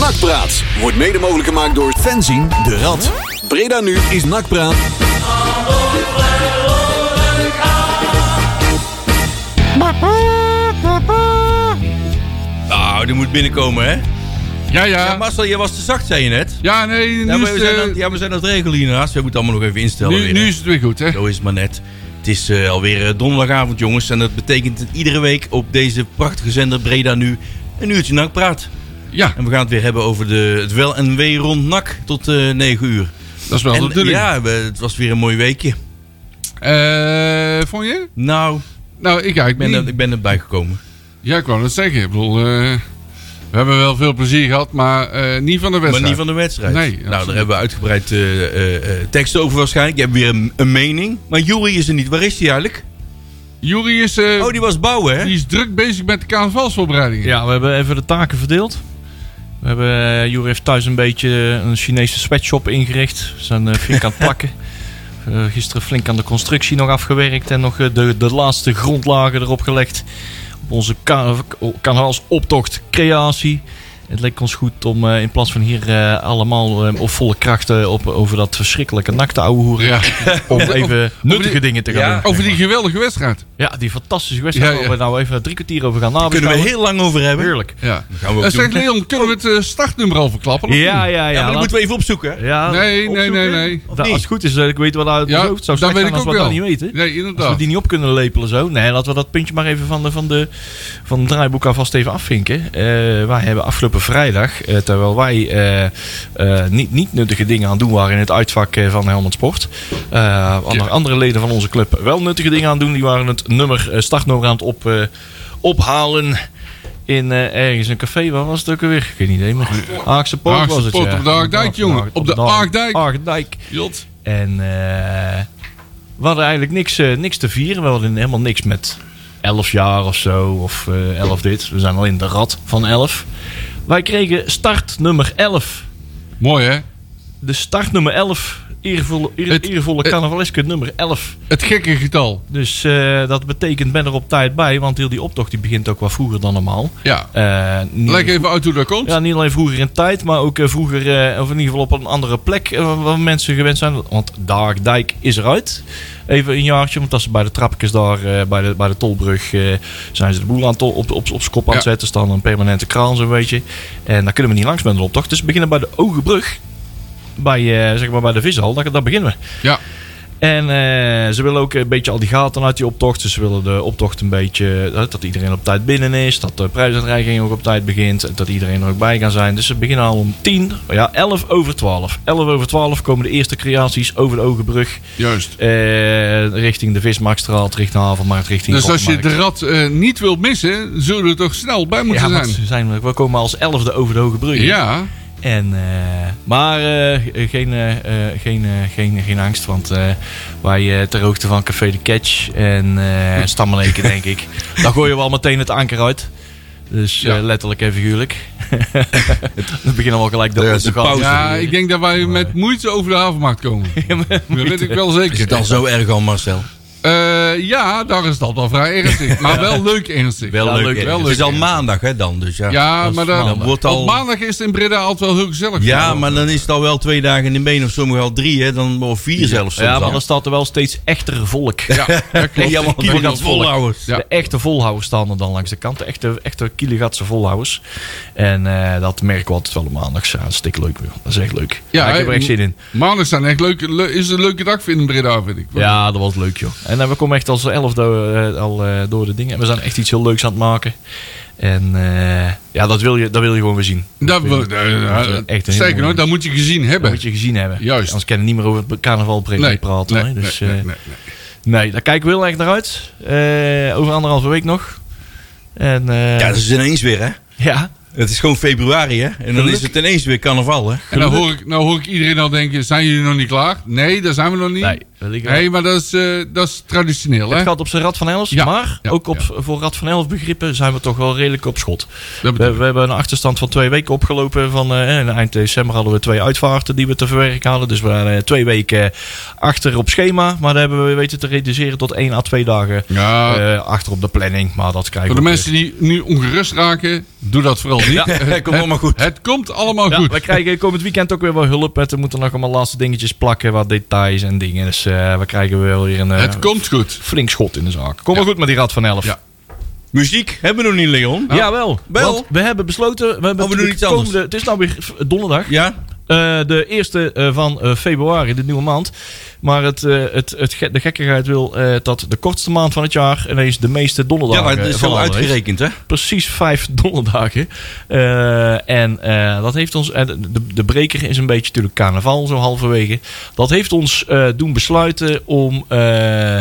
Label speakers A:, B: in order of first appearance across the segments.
A: Nakpraat wordt mede mogelijk gemaakt door fanzine de Rad. Breda nu is Nakpraat.
B: Nou, die moet binnenkomen, hè? Ja,
C: Ja, ja.
B: Marcel, jij was te zacht, zei je net.
C: Ja, nee,
B: Ja,
C: nu
B: maar we
C: is,
B: zijn
C: eh,
B: aan, ja, we zijn aan het regelen hiernaast. We moeten het allemaal nog even instellen.
C: nu,
B: weer,
C: nu
B: hè.
C: is het weer goed, hè?
B: Zo is het maar net. Het is eh, alweer eh, donderdagavond, jongens. En dat betekent dat iedere week op deze prachtige zender Breda nu een uurtje NAC praat.
C: Ja,
B: En we gaan het weer hebben over de, het wel en wee rond NAC tot eh 9 uur.
C: dat is wel de
B: En,
C: bedoeling.
B: ja, we- het was weer een mooi weekje.
C: Eh, vond je?
B: Nou,
C: Nou, ik eigenlijk
B: ik ben,
C: niet.
B: er- ik ben erbij gekomen.
C: Ja, ik wou dat zeggen. Ik bedoel, eh, we hebben wel veel plezier gehad, maar eh, niet van de wedstrijd.
B: Maar niet van de wedstrijd.
C: Nee,
B: nou,
C: absoluut.
B: daar hebben we uitgebreid eh, eh, eh, teksten over waarschijnlijk. Je hebt weer een, een mening. Maar Jury is er niet. Waar is hij eigenlijk?
C: Jury is, eh,
B: Oh, die was bouwen, hè?
C: die is druk bezig met de carnavalsvoorbereidingen.
D: Ja, we hebben even de taken verdeeld. We hebben, eh, Joeri heeft thuis een beetje een Chinese sweatshop ingericht. Ze zijn eh, flink aan het plakken. Eh, gisteren flink aan de constructie nog afgewerkt en nog eh, de, de laatste grondlagen erop gelegd. Op onze ka- eh, kanaalsoptocht creatie. Het leek ons goed om eh, in plaats van hier eh, allemaal eh, op volle krachten op, over dat verschrikkelijke nakte ouwe hoeren.
C: Ja.
D: Om even nuttige
C: die-
D: dingen te gaan
B: ja,
D: doen.
C: Over die geweldige wedstrijd.
D: Ja, die fantastische wedstrijd
C: Ja, ja.
D: waar we nou even drie kwartier over gaan
B: Daar
D: nabeschouwen.
B: kunnen we heel lang over hebben.
D: Heerlijk.
C: Ja.
B: Dat gaan we ook doen.
C: Eh, zeg Leon, kunnen we het eh, startnummer al verklappen? of
D: Ja, ja,
C: niet?
D: ja.
B: Ja, maar
D: laat-
B: dat moeten we even opzoeken. hè?
D: Ja,
C: Nee, nee, nee,
B: opzoeken?
C: nee.
B: Of
D: Da-
B: niet?
D: Nou, als het goed is, dat ik weet wat uit het
C: Ja,
D: hoofd zou
C: dat
D: zijn
C: weet ik
D: als
C: ook
D: we
C: wel.
D: dat niet weten.
C: Nee,
D: Als we
C: inderdaad.
D: die niet op kunnen lepelen zo. Nee, laten we dat puntje maar even van, de, van, de, van het draaiboek alvast even afvinken. Eh, wij hebben afgelopen vrijdag, eh, terwijl wij eh, eh, niet, niet nuttige dingen aan het doen waren in het uitvak eh, van Helmond Sport. eh, andere, andere leden van onze club wel nuttige dingen aan het doen. Die waren het nummer, eh, startnummer aan het op, eh, ophalen. In eh, ergens een café, waar was het ook alweer? Geen idee meer. Haagse Poort
C: Haagse
D: was het,
C: Poort,
D: ja.
C: op de Haagdijk,
D: Op de
C: jongen.
D: Haag-
C: Op de Haagdijk.
D: Haagdijk.
C: Jot.
D: En eh, we hadden eigenlijk niks, eh, niks te vieren. We hadden helemaal niks met 11 jaar of zo. Of eh 11 dit. We zijn alleen de rat van 11. Wij kregen start nummer 11.
C: Mooi, hè?
D: De start nummer 11. Eervolle, eer-
C: Het-
D: eervolle
C: het-
D: carnavaleske nummer 11.
C: Het gekke getal.
D: Dus eh, dat betekent ben er op tijd bij. Want heel die optocht die begint ook wat vroeger dan normaal.
C: Ja.
D: Eh, niet-
C: Leg even uit hoe dat komt.
D: ja, niet alleen vroeger in tijd, maar ook eh, vroeger, eh, of in ieder geval op een andere plek eh, waar- waar mensen gewend zijn. Want Dijk is eruit. Even een jaartje, want als ze bij de trappetjes daar, eh, bij, de, bij de tolbrug, eh, zijn ze de boel aan het tol- op, op, op z'n kop aan het
C: Ja.
D: zetten. Staan een permanente kraan zo'n beetje. En daar kunnen we niet langs met een optocht. Dus we beginnen bij de Ogenbrug. Bij, eh, zeg maar bij de vishal, daar, daar beginnen we.
C: Ja.
D: En eh, ze willen ook een beetje al die gaten uit die optocht. Dus ze willen de optocht een beetje... eh, Dat iedereen op tijd binnen is. Dat de prijsuitreiking ook op tijd begint. en Dat iedereen er ook bij kan zijn. Dus ze beginnen al om 10. Ja, 11 over 12. 11 over 12 komen de eerste creaties over de Ogenbrug.
C: Juist.
D: eh, richting de Vismarktstraat. Richting de Havenmarkt. Richting
C: Dus als je
D: Rottenmarkt.
C: de rat eh, niet wilt missen, zullen we er toch snel bij moeten
D: ja, want
C: zijn.
D: ze zijn, we komen als 11e over de Hoge Brug.
C: Ja,
D: En, eh, maar eh, geen, eh, eh, geen, eh, geen, geen angst, want eh, wij eh, ter hoogte van Café de Catch en eh Stammeleken, denk ik, daar gooien we al meteen het anker uit. Dus eh,
C: Ja.
D: letterlijk en figuurlijk. Dan beginnen we al gelijk de,
B: Ja,
D: de,
B: is de
D: gat.
B: pauze.
C: ja ik denk dat wij met moeite over de havenmarkt komen. dat weet ik wel
B: Is het
C: zeker.
B: al zo erg al, Marcel?
C: Eh, ja, daar is dat wel vrij ernstig. Maar wel leuk ernstig.
D: Ja, leuk,
B: hè?
C: wel
B: Het
C: leuk,
B: is al
C: hè?
B: maandag, hè, dan. Dus ja.
C: Ja, maar
B: Dan
C: dan,
B: wordt al-
C: op maandag is het in Breda altijd wel heel gezellig.
B: Ja, maar dan is het al wel twee dagen in de been. Of sommigen al drie, hè. Dan, of vier zelfs soms
D: Ja, maar
B: al.
D: dan staat er wel steeds echter volk.
C: Ja, dat klopt.
B: Ja, maar
D: dan
B: Kieler
D: wordt
B: gaat
D: het volk.
B: volhouden.
C: Ja.
D: De echte volhouders staan er dan langs de kant. De echte, echte kielegatse volhouders. En eh, dat merken we altijd wel op maandags. Ja, dat is dik leuk. joh. Dat is echt leuk.
C: Ja, eh,
D: Ja, ik heb
C: hè,
D: er echt zin in.
C: Maandag zijn echt leuke, le- is een leuke dag in Breda, vind ik.
D: Ja, dat was leuk, joh. En eh, we komen echt als elf do- eh, al eh, door de dingen. En we zijn echt iets heel leuks aan het maken. En eh, ja, dat wil, je, dat wil je gewoon weer zien.
C: Dat,
D: wil
C: wil-
D: je-
C: eh,
D: dat is
C: eh,
D: echt een heel
C: sterker nog,
D: mooi-
C: dat moet je gezien
D: dat
C: hebben.
D: moet je gezien hebben.
C: Juist.
D: Anders kan je niet meer over het carnaval
C: Nee,
D: praten. hè. dus, eh,
C: nee,
D: nee,
C: nee, nee.
D: daar kijken we heel erg naar uit. Eh, over anderhalve week nog. En eh,
B: Ja, dat is ineens weer, hè.
D: ja.
B: Het is gewoon februari, hè. En dan is het ineens weer carnaval, hè.
C: En dan hoor, ik, nou hoor ik iedereen al denken, zijn jullie nog niet klaar? Nee, daar zijn we nog niet.
D: Nee. Daar liggen
C: Nee, maar dat is, eh, dat is traditioneel, hè?
D: Het gaat op zijn Rad van Elf,
C: Ja,
D: maar
C: ja,
D: ook op,
C: ja.
D: voor Rad van Elf begrippen zijn we toch wel redelijk op schot.
C: Dat
D: We,
C: betekent.
D: we hebben een achterstand van twee weken opgelopen. Van, eh, en eind december hadden we twee uitvaarten die we te verwerken hadden. Dus we waren eh, twee weken achter op schema. Maar dat hebben we weten te reduceren tot één à twee dagen
C: Ja,
D: eh, achter op de planning. Maar dat krijgen
C: voor de
D: we
C: mensen die nu ongerust raken, doe dat vooral niet.
B: Komt allemaal goed.
C: Het komt allemaal
D: Ja,
C: goed.
D: we krijgen komend weekend ook weer wel hulp. met. We moeten nog allemaal laatste dingetjes plakken, wat details en dingen. Dus eh, we krijgen weer weer een eh,
C: Het komt goed.
D: flink schot in de zaak. Kom maar goed met die Rad van Elf.
C: Ja.
B: Muziek hebben we nog niet, Leon.
D: Ja Jawel.
B: Wel.
D: Want we hebben besloten. We hebben
B: Oh, we doen
D: natuurlijk
B: iets anders.
D: komende- het is nou weer v- donderdag.
B: Ja?
D: eh, de eerste eh, van eh, februari, de nieuwe maand. Maar het, eh, het, het, ge- de gekkigheid wil eh, dat de kortste maand van het jaar ineens de meeste
B: Ja,
D: donderdagen
B: maar het is
D: van
B: wel
D: alle heeft.
B: uitgerekend, hè?
D: Precies vijf donderdagen. Eh, en eh, dat heeft ons. en de, de breker is een beetje natuurlijk carnaval, zo halverwege. Dat heeft ons eh, doen besluiten om. eh,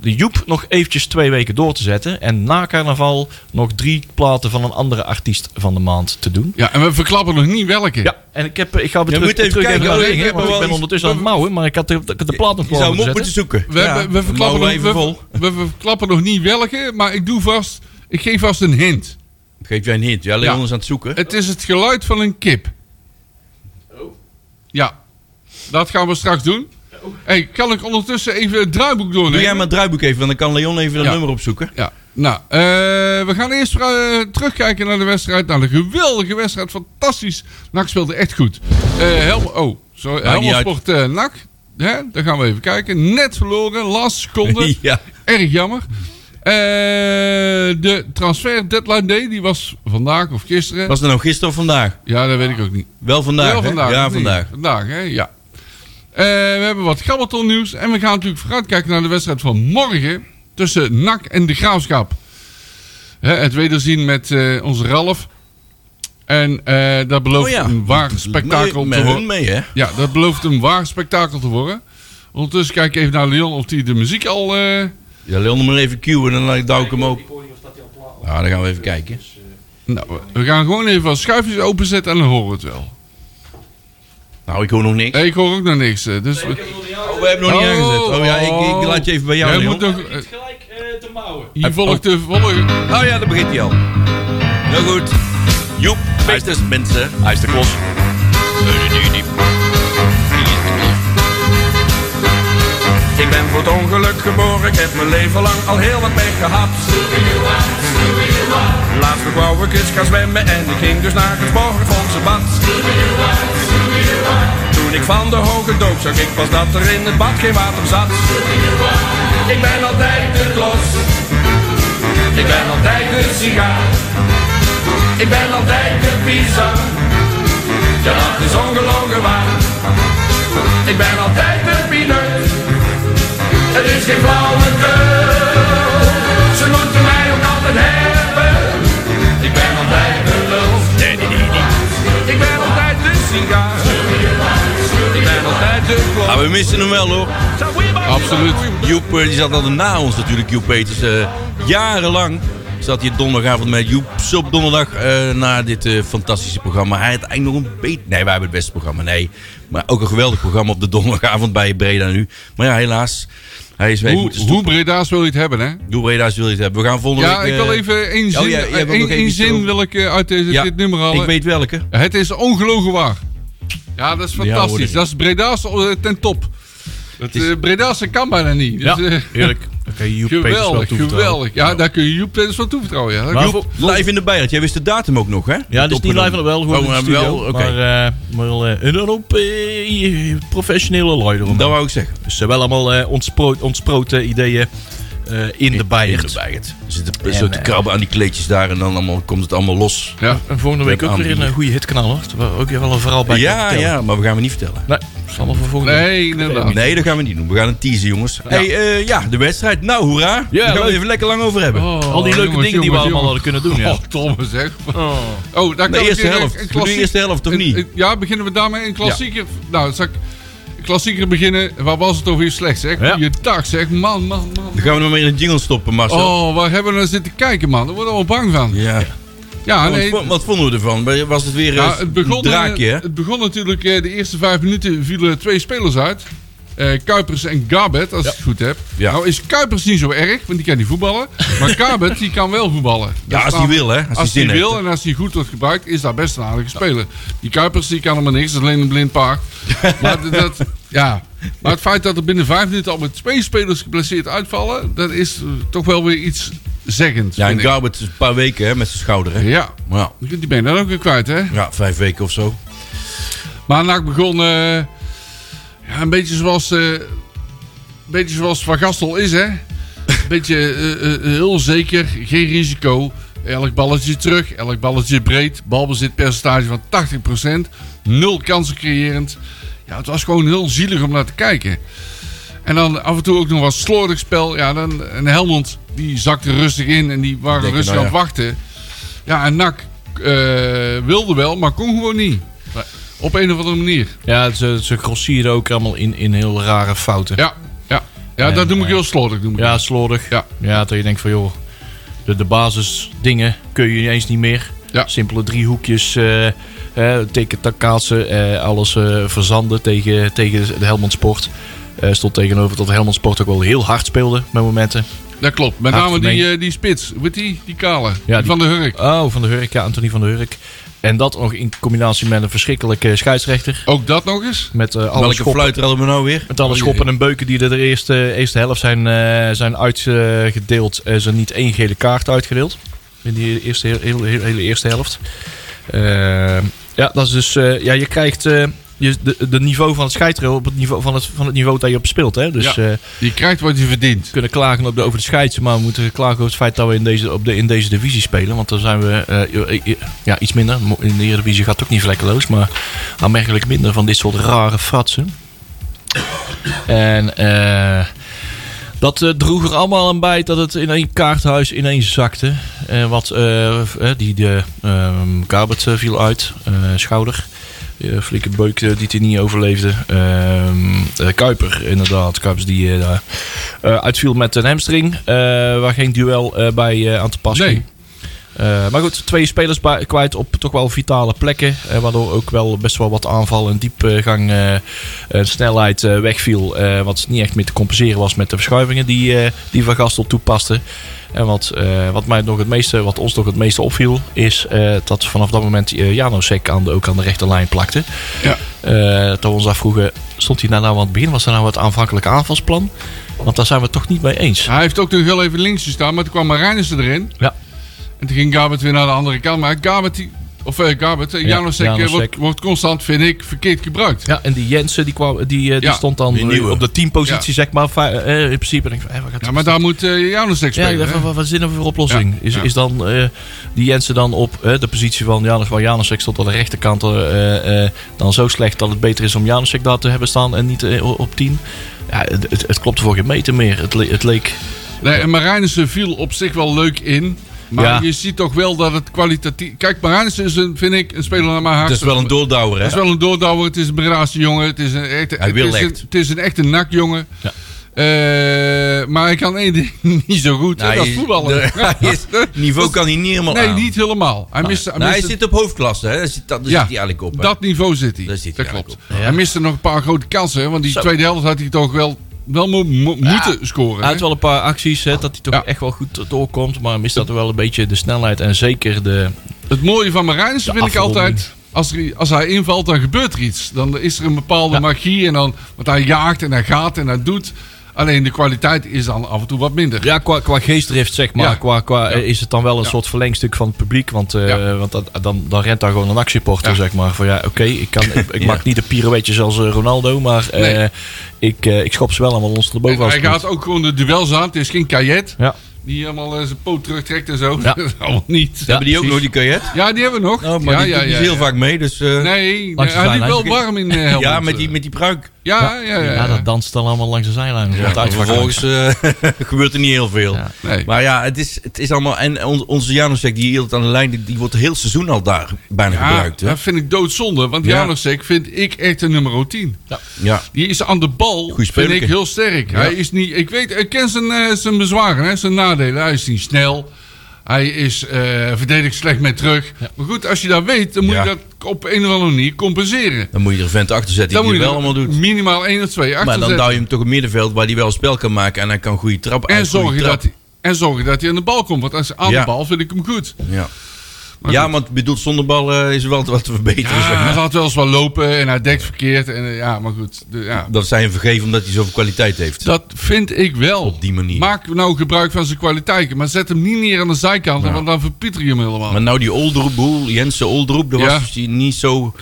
D: de Joep nog eventjes twee weken door te zetten. En na carnaval nog drie platen van een andere artiest van de maand te doen.
C: Ja, en we verklappen nog niet welke.
D: Ja, en ik, heb, ik ga weer
B: Ja,
D: terug,
B: moet even
D: terug
B: kijken,
D: naar de
B: hoor. Ik
D: dingen,
B: heb
D: want
B: wel
D: ik ben
B: iets-
D: ondertussen aan het mouwen, maar ik had de, ik had de plaat nog
B: Je zou hem
D: klaar
B: op
D: moeten
B: moeten
D: zetten.
B: zoeken.
C: We,
B: Ja,
C: we, we verklappen
B: mouwen
C: nog,
B: even vol.
C: we, we- we verklappen nog niet welke, maar ik doe vast. Ik geef vast een hint.
B: Geef jij een hint. Ja, Leon
C: Ja.
B: is aan het zoeken.
C: Het is het geluid van een kip. Ja, dat gaan we straks doen. Hey, kan ik ondertussen even het draaiboek doornemen?
B: Doe jij maar het draaiboek even, want dan kan Leon even een
C: Ja.
B: nummer opzoeken.
C: Ja, nou, eh, we gaan eerst eh, terugkijken naar de wedstrijd. Naar de geweldige wedstrijd. Fantastisch. NAC speelde echt goed. Eh Helm, oh, sorry.
B: Maakt niet
C: Helmond
B: uit.
C: Sport eh, NAC. Hè, daar gaan we even kijken. Net verloren. Laatste seconde.
B: Ja.
C: Erg jammer. Eh, de transfer deadline day, die was vandaag of gisteren.
B: Was het nou gisteren of vandaag?
C: Ja, dat weet ik ook niet.
B: Wel vandaag.
C: Wel
B: hè?
C: vandaag.
B: ja,
C: of niet?
B: vandaag.
C: Vandaag, hè? Ja. Eh, we hebben wat Gabbaton nieuws. En we gaan natuurlijk vooruitkijken naar de wedstrijd van morgen. Tussen NAC en de Graafschap. Hè, het wederzien met eh, onze Ralf. En eh, dat belooft
B: Oh ja.
C: een waar spektakel
B: Met- Met
C: te
B: hun
C: worden.
B: mee, hè?
C: Ja, dat belooft een waar spektakel te worden. Ondertussen kijk ik even naar Leon of hij de muziek al... eh,
B: Ja, Leon hem maar even cueën en dan laat ik- douw ik hem op. Ja, dan gaan we even kijken.
C: nou, we gaan gewoon even wat schuifjes openzetten en dan horen we het wel.
B: Nou, ik hoor nog niks.
C: Nee, ik hoor ook nog niks. eh, Dus we-
B: Oh, we hebben nog niet aangezet. Oh ja, ik, ik laat je even bij jou,
C: Jij
B: Leon.
C: moet nog, eh,
D: Gelijk te mouwen.
C: hier volgt de volgende...
B: Oh ja, daar begint hij al. Heel goed. Joep, feestjes mensen. Hij is de klos.
E: Ik ben voor het ongeluk geboren, ik heb mijn leven lang al heel wat mee gehad. Laatst nog wou ik eens gaan zwemmen en ik ging dus naar het morgenfondse bad. Toen ik van de hoge dook zag ik pas dat er in het bad geen water zat. Ik ben altijd de klos. Ik ben altijd de sigaar. Ik ben altijd de pizza. Ja, dat is ongelogen waar. Ik ben altijd de peanut. Het is geen flauwekul. Ze moeten mij ook altijd hebben. Ik ben altijd de lul. Ik ben altijd de sigaar. Ik ben altijd de klok.
B: Ah, we missen hem wel hoor.
C: Absoluut.
B: Joep, eh, die zat altijd na ons natuurlijk, Joep Peters. Eh, jarenlang zat hij donderdagavond met Joep op donderdag eh, naar dit eh, fantastische programma. Hij had eigenlijk nog een beetje... Nee, wij hebben het beste programma, nee. Maar ook een geweldig programma op de donderdagavond bij Breda nu. Maar ja, helaas. Hij is weg
C: Hoe,
B: moeten
C: hoe Breda's wil je het hebben, hè?
B: Doe Breda's wil je het hebben. We gaan volgende
C: Ja,
B: week...
C: ik
B: eh,
C: wil even één zin, eh,
B: oh, jij- jij wil nog
C: één-
B: even
C: één
B: iets
C: zin
B: doen.
C: wil ik eh, uit deze,
B: ja,
C: dit nummer halen.
B: Ik weet welke.
C: Het is ongelogen waar. Ja, dat is
B: hoor
C: fantastisch.
B: ik.
C: dat is Breda's eh, ten top. Het
B: is-
C: eh, Breda's kan bijna niet. Dus,
D: Ja,
C: eh,
D: heerlijk. Oké, Joep
C: geweldig,
D: Peters wel
C: geweldig. Ja, daar kun je Joep Peters van toevertrouwen. Ja.
D: Maar
C: Joep-
D: voor-
B: Live in de Bijert. Jij wist de datum ook nog, hè?
D: Ja, dus niet live van wel, gewoon
B: Oh,
D: in de
B: maar
D: studio.
B: wel, oké.
D: Maar, eh maar eh, en dan op eh, professionele lui erom.
B: Dat wou ik zeggen.
D: Dus ze wel allemaal eh, ontspro- ontsproten ideeën eh, in de
B: In
D: Bijert.
B: de Bijert. Er zitten zo te krabben aan die kleedjes daar en dan allemaal, komt het allemaal los.
C: ja.
D: En volgende
B: Met
D: week ook weer
B: aanbiedingen.
D: een eh, goede hitknal hoor. Terwijl we Ook weer wel een verhaal bij kunnen
B: Ja,
D: vertellen.
B: ja, maar we gaan we niet vertellen.
D: Nee, dat is allemaal voor volgende week.
C: Nee, inderdaad.
B: Nee, dat gaan we niet doen. We gaan het teasen, jongens. hey, eh, ja, de wedstrijd. Nou, hoera. Daar gaan we
D: leuk.
B: even lekker lang over hebben.
C: Oh,
D: Al die leuke
C: jongens,
D: dingen die we
C: jongens,
D: allemaal
C: jongens.
D: hadden kunnen doen, ja.
C: Oh, domme zeg. Oh, daar
B: De
C: kan ik
B: eerste
C: een- een
B: helft. We doen de
C: klassie-
B: eerste helft, toch
C: een-
B: niet?
C: een- Ja, beginnen we daarmee. Een klassieker. Nou, zal ik klassieker beginnen. Waar was het toch weer slecht, zeg?
D: Ja.
C: Goeiedag, zeg. Man, man, man.
B: Dan gaan we nog maar in een jingle stoppen, Marcel.
C: Oh, waar hebben we nou zitten kijken, man? Daar worden we al bang van.
B: Ja. Oh,
C: Ja,
B: Wat
C: nee.
B: vo- Wat vonden we ervan? Was het weer
C: ja,
B: eh,
C: het,
B: een
C: begon, eh,
B: draakje, hè?
C: het begon natuurlijk, eh, de eerste vijf minuten vielen twee spelers uit. eh, Kuipers en Gabet, als ik het goed heb.
B: Ja.
C: Nou is Kuipers niet zo erg, want die kan niet voetballen. Maar Gabet, die kan wel voetballen.
B: Ja,
C: Dat
B: als
C: staat-
B: hij wil, hè. Als hij
C: Als
B: zin
C: hij wil
B: heeft.
C: en als hij goed wordt gebruikt, is dat best een aardige speler. Die Kuipers, die kan helemaal niks. Dat is alleen een blind paard. maar, d- dat, ja. maar het feit dat er binnen vijf minuten al met twee spelers geblesseerd uitvallen... dat is eh, toch wel weer iets zeggends,
B: Ja, en
C: vind ik.
B: Garbert is een paar weken hè, met zijn schouder. Hè.
C: Ja,
B: Maar ja,
C: die ben je dan ook weer kwijt, hè?
B: ja, vijf weken of zo.
C: Maar NAC begon eh, ja, een beetje zoals, eh, een beetje zoals Van Gastel is, hè? Een beetje eh, eh, heel zeker, geen risico. Elk balletje terug, elk balletje breed. Balbezitpercentage van 80%. Nul kansen creërend. Ja, het was gewoon heel zielig om naar te kijken. En dan af en toe ook nog wat slordig spel. Ja, dan, en Helmond die zakte rustig in en die waren
B: Denk je,
C: rustig
B: nou
C: aan het wachten. Ja, en NAC eh, wilde wel, maar kon gewoon niet. Op een of andere manier.
D: Ja, ze, ze grossieren ook allemaal in, in heel rare fouten.
C: Ja, ja. ja
D: En,
C: dat noem ik
D: eh,
C: heel slordig. Noem ik
D: Ja,
C: dat.
D: slordig.
C: Ja.
D: ja, dat je denkt van joh, de, de basisdingen kun je ineens niet meer.
C: Ja.
D: Simpele driehoekjes, eh eh, teken tak kaatsen, eh, alles eh, verzanden tegen, tegen de Helmond Sport. Eh, stond tegenover dat Helmond Sport ook wel heel hard speelde met momenten.
C: dat klopt. Met
D: Hard
C: name die,
D: gemeen.
C: eh, die spits. Weet die? Die kale.
D: Ja,
C: die van de Hurk.
D: Oh, van de Hurk, ja, Anthony van de Hurk. En dat nog in combinatie met een verschrikkelijke scheidsrechter.
C: Ook dat nog eens.
D: Met eh alle
B: Welke
D: schoppen,
B: fluiter hadden we nou weer?
D: met alle schoppen en beuken die er de eerste, eerste helft zijn, eh, zijn uitgedeeld. Er is er niet één gele kaart uitgedeeld. In die eerste, heel, heel- heel- hele eerste helft. Eh, ja, dat is dus. eh, ja, je krijgt. eh, je, de, de niveau van het scheidtrail op het niveau van het, van het niveau dat je op speelt. Hè? Dus
C: Ja.
D: eh,
C: Je krijgt wat je verdient.
D: we kunnen klagen op de, over de scheids, maar we moeten klagen over het feit dat we in deze, op de, in deze divisie spelen. Want dan zijn we eh, eh, ja, iets minder. Mo- In de Eredivisie gaat het ook niet vlekkeloos, maar aanmerkelijk minder van dit soort rare fratsen. En eh, dat eh, droeg er allemaal aan bij dat het in één kaarthuis ineens zakte. Eh, wat eh, f- eh, die de ehm Gabert, eh, viel uit, eh, schouder. Eh, flinke beuk eh, die hij niet overleefde. Ehm, eh, Kuiper, inderdaad. Kuipers die eh, daar, eh, uitviel met een hamstring. eh, waar geen duel eh, bij eh, aan te pas
C: Nee.
D: ging. Eh, maar goed, twee spelers bij- kwijt op toch wel vitale plekken. eh, waardoor ook wel best wel wat aanval en diepgang eh en snelheid eh, wegviel. eh, wat niet echt meer te compenseren was met de verschuivingen die, eh, die Van Gastel toepaste. En wat, eh, wat, mij nog het meeste, wat ons nog het meeste opviel, is eh, dat vanaf dat moment eh, Janosek aan de, ook aan de rechterlijn plakte.
C: Ja.
D: Eh, dat we ons afvroegen, stond hij nou, nou aan het begin? Was dat nou het aanvankelijke aanvalsplan? Want daar zijn we het toch niet mee eens.
C: Hij heeft ook nog heel even links gestaan, maar toen kwam Marijnissen erin.
D: Ja.
C: En toen ging Gabert weer naar de andere kant. Maar Gabert, die, of eh Gabert, eh,
D: Ja,
C: Janosek, eh,
D: Janosek.
C: wordt, wordt constant, vind ik, verkeerd gebruikt.
D: Ja, en die Jensen die, kwam, die, eh, die
C: Ja,
D: stond dan
B: die
D: eh,
B: nieuwe.
D: op de teampositie,
C: Ja.
D: zeg maar. va- eh, in principe denk ik van, eh, wat gaat
C: Ja, maar daar moet eh Janosek
D: ja, ik
C: spelen.
D: dacht,
C: hè?
D: van, wat, wat zinnen we voor oplossing?
C: Ja,
D: Is,
C: ja.
D: is dan eh, die Jensen dan op eh, de positie van Janus, waar Janusek stond aan de rechterkant, eh, eh, dan zo slecht dat het beter is om Janusek daar te hebben staan en niet eh, op 10? Ja, het, het, het klopte voor geen meter meer. Het, le- het leek.
C: Nee, en Marijnissen viel op zich wel leuk in. Maar
D: Ja.
C: je ziet toch wel dat het kwalitatief... Kijk, Marijnissen is, een, vind ik, een speler naar mijn hart.
B: Het is wel een doordouwer, hè?
C: Het is wel een doordouwer, het is een Bredaanse jongen. Het is een echte,
B: Hij wil
C: het is
B: echt.
C: Een, het is een echte nakjongen.
D: Ja.
C: Eh, maar hij kan één ding niet zo goed, hè,
B: Nou,
C: dat is
B: hij-
C: voetballen.
B: de- hij is- Niveau kan hij niet helemaal
C: nee,
B: aan.
C: niet helemaal. Hij miste, hij
B: Nou, hij
C: miste-
B: zit op hoofdklasse, hè? Daar zit, dat, daar
C: Ja,
B: zit hij eigenlijk op. hè.
C: dat niveau zit hij.
B: Daar zit hij
C: dat
B: eigenlijk
C: klopt.
D: op. Ja.
C: Hij miste nog een paar grote kansen, hè, want die
D: Zo.
C: tweede helft had hij toch wel, wel mo- mo- moeten scoren.
D: Hij
C: hè?
D: had wel een paar acties, hè, dat hij toch
C: Ja.
D: echt wel goed doorkomt, maar mist dat wel een beetje de snelheid en zeker de.
C: Het mooie van Marijnissen
D: De
C: vind ik
D: afronding.
C: altijd... Als, er, als hij invalt, dan gebeurt er iets. Dan is er een bepaalde
D: Ja.
C: magie. En dan, want hij jaagt en hij gaat en hij doet. Alleen de kwaliteit is dan af en toe wat minder.
D: Ja, qua, qua geestdrift zeg maar.
C: Ja.
D: Qua, qua, eh, Is het dan wel een
C: Ja.
D: soort verlengstuk van het publiek? Want, eh,
C: Ja.
D: want dat, dan, dan rent daar gewoon een actieporter
C: Ja.
D: zeg maar. Van ja, oké, ik, kan- ik, ik maak niet de pirouetjes als eh, Ronaldo, maar eh,
C: Nee.
D: ik, eh, ik schop ze wel allemaal ons
C: En
D: erboven als
C: hij
D: het moet.
C: gaat ook gewoon de duels aan. Het is geen kajet.
D: Ja.
C: Die helemaal eh, zijn poot terugtrekt en zo.
D: Ja.
C: Dat is allemaal niet. Ja.
B: Hebben die ook nog die kajet?
C: die hebben we nog.
B: Oh, maar
C: ja,
B: die
C: ja,
B: doet niet
C: ja,
B: heel
C: ja.
B: vaak mee, dus... eh,
C: Nee,
D: Langs de
C: hij liep wel
D: zijlijn.
C: warm in eh, Helmond.
B: ja, met die, met die pruik.
C: Ja, ja, ja.
D: Ja,
C: ja.
D: dat danst dan allemaal langs de zijlijn.
B: Ja,
D: Ja,
B: vervolgens eh, gebeurt er niet heel veel.
D: Ja.
C: Nee.
B: Maar ja, het is, het is allemaal... En on- onze Janosek, die hield aan de lijn, die, die wordt heel seizoen al daar bijna
C: Ja,
B: gebruikt. Hè?
C: dat vind ik doodzonde. Want
B: Ja.
C: Janosek vind ik echt een nummer 10.
B: Ja.
C: Die is aan de bal,
B: Goeie
C: vind ik
B: spelerke.
C: heel sterk. Hij is niet, ik weet, ik ken zijn, eh, zijn bezwaren, hè, zijn nadelen. Hij is niet snel. Hij is eh verdedigd slecht mee terug. Maar goed, als je dat weet, dan moet
B: Ja.
C: je dat op een of andere manier compenseren.
B: Dan moet je er een vent achter zetten
C: Dan
B: die
C: moet
B: het
C: je
B: wel
C: er
B: allemaal doet.
C: Minimaal één of twee achter
B: Maar dan
C: zetten.
B: duw je hem toch een middenveld waar hij wel een spel kan maken en hij kan goede trap
C: en,
B: uit, goede
C: zorgen
B: trap.
C: dat, hij- en zorgen dat hij aan de bal komt. Want als hij aan
B: Ja.
C: de bal vind ik hem goed.
B: Ja. ja, want bedoeld zonder bal eh, is er wel wat te verbeteren. zeg
C: Ja,
B: maar.
C: hij laat wel eens wel lopen en hij dekt verkeerd. En, eh, ja, maar goed. de- ja.
B: Dat zij hem vergeven omdat hij zoveel kwaliteit heeft.
C: Dat vind ik wel. Op
B: die manier.
C: Maak nou gebruik van zijn kwaliteiten. Maar zet hem niet neer aan de zijkant,
B: Ja.
C: want dan verpieter je hem helemaal.
B: Maar nou die Oldroep, boel, Jensen Oldroep, dat was
C: Ja.
B: dus die niet zo...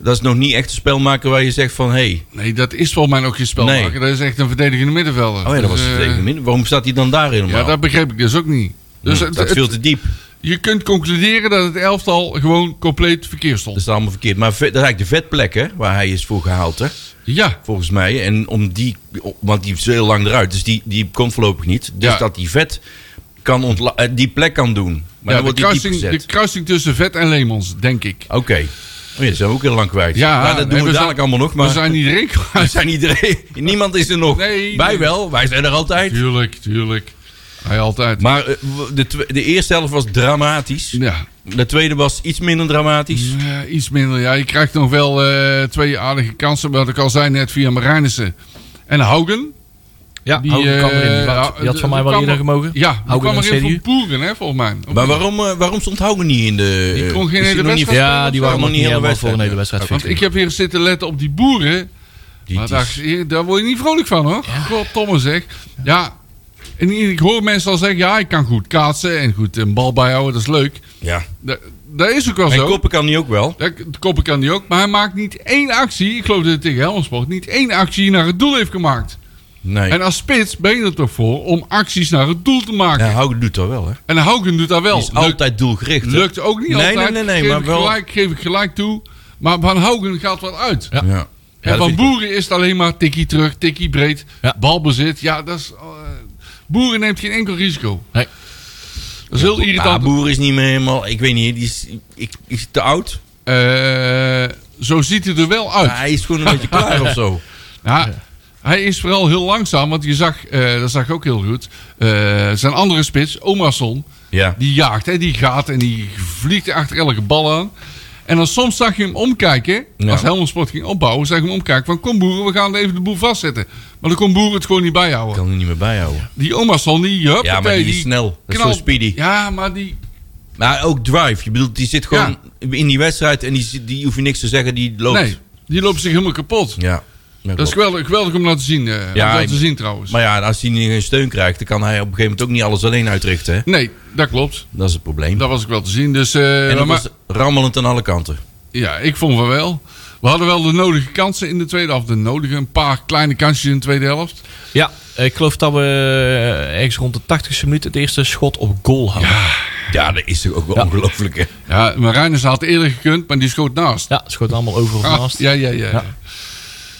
B: Dat is nog niet echt een spelmaker waar je zegt van... Hey,
C: Nee, dat is volgens mij ook geen spelmaker.
B: Nee.
C: Dat is echt een verdedigende middenvelder.
B: oh ja, dat was
C: Dus,
B: het
C: eh,
B: tegen min. Waarom staat hij dan daar helemaal?
C: Ja, dat begreep ik dus ook niet. Dus
B: Hm,
C: het-
B: dat is
C: het-
B: veel te diep.
C: je kunt concluderen dat het elftal gewoon compleet verkeerd
B: Dat
C: stond.
B: is allemaal verkeerd. Maar vet- dat is eigenlijk de vetplek hè, waar hij is voor gehaald. Hè,
C: Ja,
B: volgens mij. En om die, want die is heel lang eruit. Dus die, die komt voorlopig niet. Dus
C: Ja.
B: dat die vet kan ontla- eh, die plek kan doen. Maar
C: ja
B: dan
C: de,
B: wordt die diep
C: kruising, de
B: gezet.
C: kruising tussen Vet en Lemons, denk ik.
B: Oké. Oh ja, dat zijn we ook heel lang kwijt. Nou,
C: Ja,
B: dat doen
C: nee,
B: we,
C: we
B: dadelijk allemaal nog. Maar
C: We zijn iedereen
B: We
C: kwijt.
B: zijn iedereen. Niemand is er nog.
C: Nee,
B: wij
C: nee.
B: wel. Wij zijn er altijd.
C: Tuurlijk, tuurlijk. Hij altijd.
B: Maar eh, w- de, twe- de eerste helft was dramatisch.
C: ja,
B: De tweede was iets minder dramatisch.
C: Ja, iets minder. Ja, je krijgt nog wel eh, twee aardige kansen. Wat ik al zei net via Marijnissen en Hougen.
D: Ja, die,
C: eh,
D: kwam erin. Die, had-
C: ja,
D: die had van
C: de-
D: mij wel
C: kwam
D: eerder
C: er-
D: gemogen.
C: Ja, die
D: Hougen
C: kwam
D: en
C: erin
D: CDU.
C: voor Poeren, hè, volgens mij. Of
B: Maar
C: niet?
B: waarom, eh, waarom stond Haugen niet in de... eh,
C: Die kon geen
B: is die
C: hele
B: nog niet-
C: wedstrijd
B: Ja, die waren nog niet helemaal
D: voor een hele
B: wedstrijd.
D: wedstrijd.
C: Want
D: fit.
C: ik heb hier zitten letten op die boeren.
B: Die-
C: Maar
B: die-
C: daar, daar word je niet vrolijk van, hoor. God, Thomas, zeg. Ja, en ik hoor mensen al zeggen... Ja, ik kan goed kaatsen en goed een bal bijhouden. Dat is leuk.
B: Ja.
C: Dat, dat is ook wel
B: En
C: zo.
B: Koppen kan die ook wel.
C: Dat de koppen kan die ook. Maar hij maakt niet één actie. Ik geloof dat hij tegen Helmersport niet één actie naar het doel heeft gemaakt.
B: Nee.
C: En als spits ben je er toch voor om acties naar het doel te maken.
B: Ja, Haugen doet dat wel, hè.
C: En Haugen doet dat wel.
B: Die is
C: Oh, Lukt-
B: altijd doelgericht. hè.
C: Lukt ook niet
B: Nee,
C: altijd.
B: nee, nee, nee,
C: geef
B: maar
C: ik
B: wel-
C: Gelijk, geef ik gelijk toe. Maar Van Haugen gaat wel uit.
B: Ja. Ja,
C: en
B: dat
C: van
B: vind ik
C: Boeren is het alleen maar tikkie terug, tikkie breed.
D: Ja.
C: Balbezit. Ja, dat is... eh, Boeren neemt geen enkel risico.
D: Nee.
C: Dat is heel
B: ook.
C: irritant.
B: Ah, Boer is niet meer helemaal... Ik weet niet, die is, ik, is te oud.
C: Eh, zo ziet hij er wel uit.
B: Maar hij is gewoon een beetje klaar of zo.
C: Ja, Hij is vooral heel langzaam, want je zag, eh, dat zag ik ook heel goed. eh, zijn andere spits, Omarsson,
B: Ja.
C: die jaagt, hè, die gaat en die vliegt achter elke bal aan. En dan soms zag je hem omkijken,
B: Ja.
C: als Helmond Sport ging opbouwen, zag je hem omkijken van kom boeren, we gaan even de boel vastzetten. Maar dan kon boeren het gewoon niet bijhouden.
B: kan er niet meer bijhouden.
C: Die Omarsson, die hup,
B: Ja, maar die is snel. Dat is zo speedy.
C: Ja, maar die,
B: Maar ook drive. Je bedoelt, die zit gewoon in die wedstrijd en die, zit- die hoef je niks te zeggen, die loopt.
C: nee, die loopt zich helemaal kapot.
B: Ja.
C: Dat is geweldig, geweldig om dat te zien, eh, om
B: Ja,
C: dat
B: ik-
C: te zien trouwens.
B: Maar ja, als hij niet geen steun krijgt, dan kan hij op een gegeven moment ook niet alles alleen uitrichten. Hè?
C: Nee, dat klopt.
B: Dat is het probleem.
C: Dat was ik wel te zien. Dus, eh,
B: en dat
C: maar-
B: was rammelend aan alle kanten.
C: Ja, ik vond van wel. We hadden wel de nodige kansen in de tweede helft. De nodige, een paar kleine kansjes in de tweede helft.
D: Ja, ik geloof dat we eh, ergens rond de 80ste minuut het eerste schot op goal hadden. Ja,
B: Ja, dat is toch ook wel ongelooflijk. Hè?
C: Ja, Marijnus had eerder gekund, maar die schoot naast.
D: het schoot allemaal over of
C: Ah,
D: naast. Ja.
C: ja, ja, ja,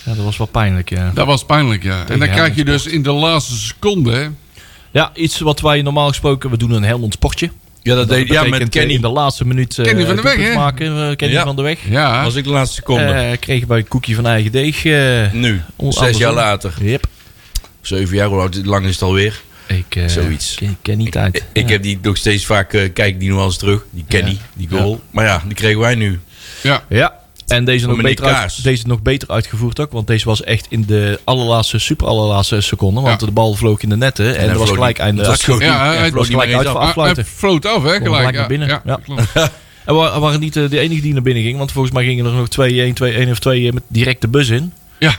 D: Ja. dat was wel pijnlijk, ja.
C: Dat was pijnlijk, ja. en dan
D: Helmond
C: krijg je dus in de laatste seconde... hè.
D: Ja, iets wat wij normaal gesproken, we doen een Helmond sportje.
B: Ja, dat, deed, ja,
D: betekent,
B: met
D: eh,
B: Kenny.
D: In de laatste minuut eh,
C: Kenny van de Weg,
D: doelpunt
C: hè?
D: maken, eh, Kenny
B: Ja.
D: van de weg.
C: Ja,
B: was ik de laatste seconde.
D: Eh kregen wij een koekje van eigen deeg. eh,
B: nu,
D: on-
B: zes
D: andersom.
B: jaar later.
D: Yep.
B: Zeven jaar, hoe oud- lang is het alweer?
D: Ik, eh,
B: Zoiets.
D: Ik, ik ken niet uit.
B: Ik, ik
D: Ja.
B: heb die nog steeds vaak, eh, kijk die nog wel eens terug. Die Kenny,
D: Ja.
B: die goal. Maar ja, die kregen wij nu.
C: ja.
D: Ja. En deze
B: Van
D: nog,
B: meneer
D: beter uit,
B: Kaars.
D: deze nog beter uitgevoerd ook. Want deze was echt in de allerlaatste, super allerlaatste seconde. Want
C: Ja.
D: de bal vloog in de netten. En,
B: hij
D: er was
B: vloog
D: gelijk
B: niet-
D: einde
B: dat was
D: actie.
B: goed.
C: Ja, hij
D: Het
B: vloog
D: was
B: niet
D: gelijk
B: meer
D: uit
B: eens
D: voor
B: af.
C: Ah, Hij
D: afluiten.
C: floot af, hè,
D: Kon
C: gelijk.
D: gelijk
C: Ja,
D: naar binnen.
C: ja,
D: Ja.
C: klopt.
D: En we we waren niet eh, de enige die naar binnen ging. Want volgens mij gingen er nog twee, één, twee, één of twee eh, met direct de bus in.
C: ja.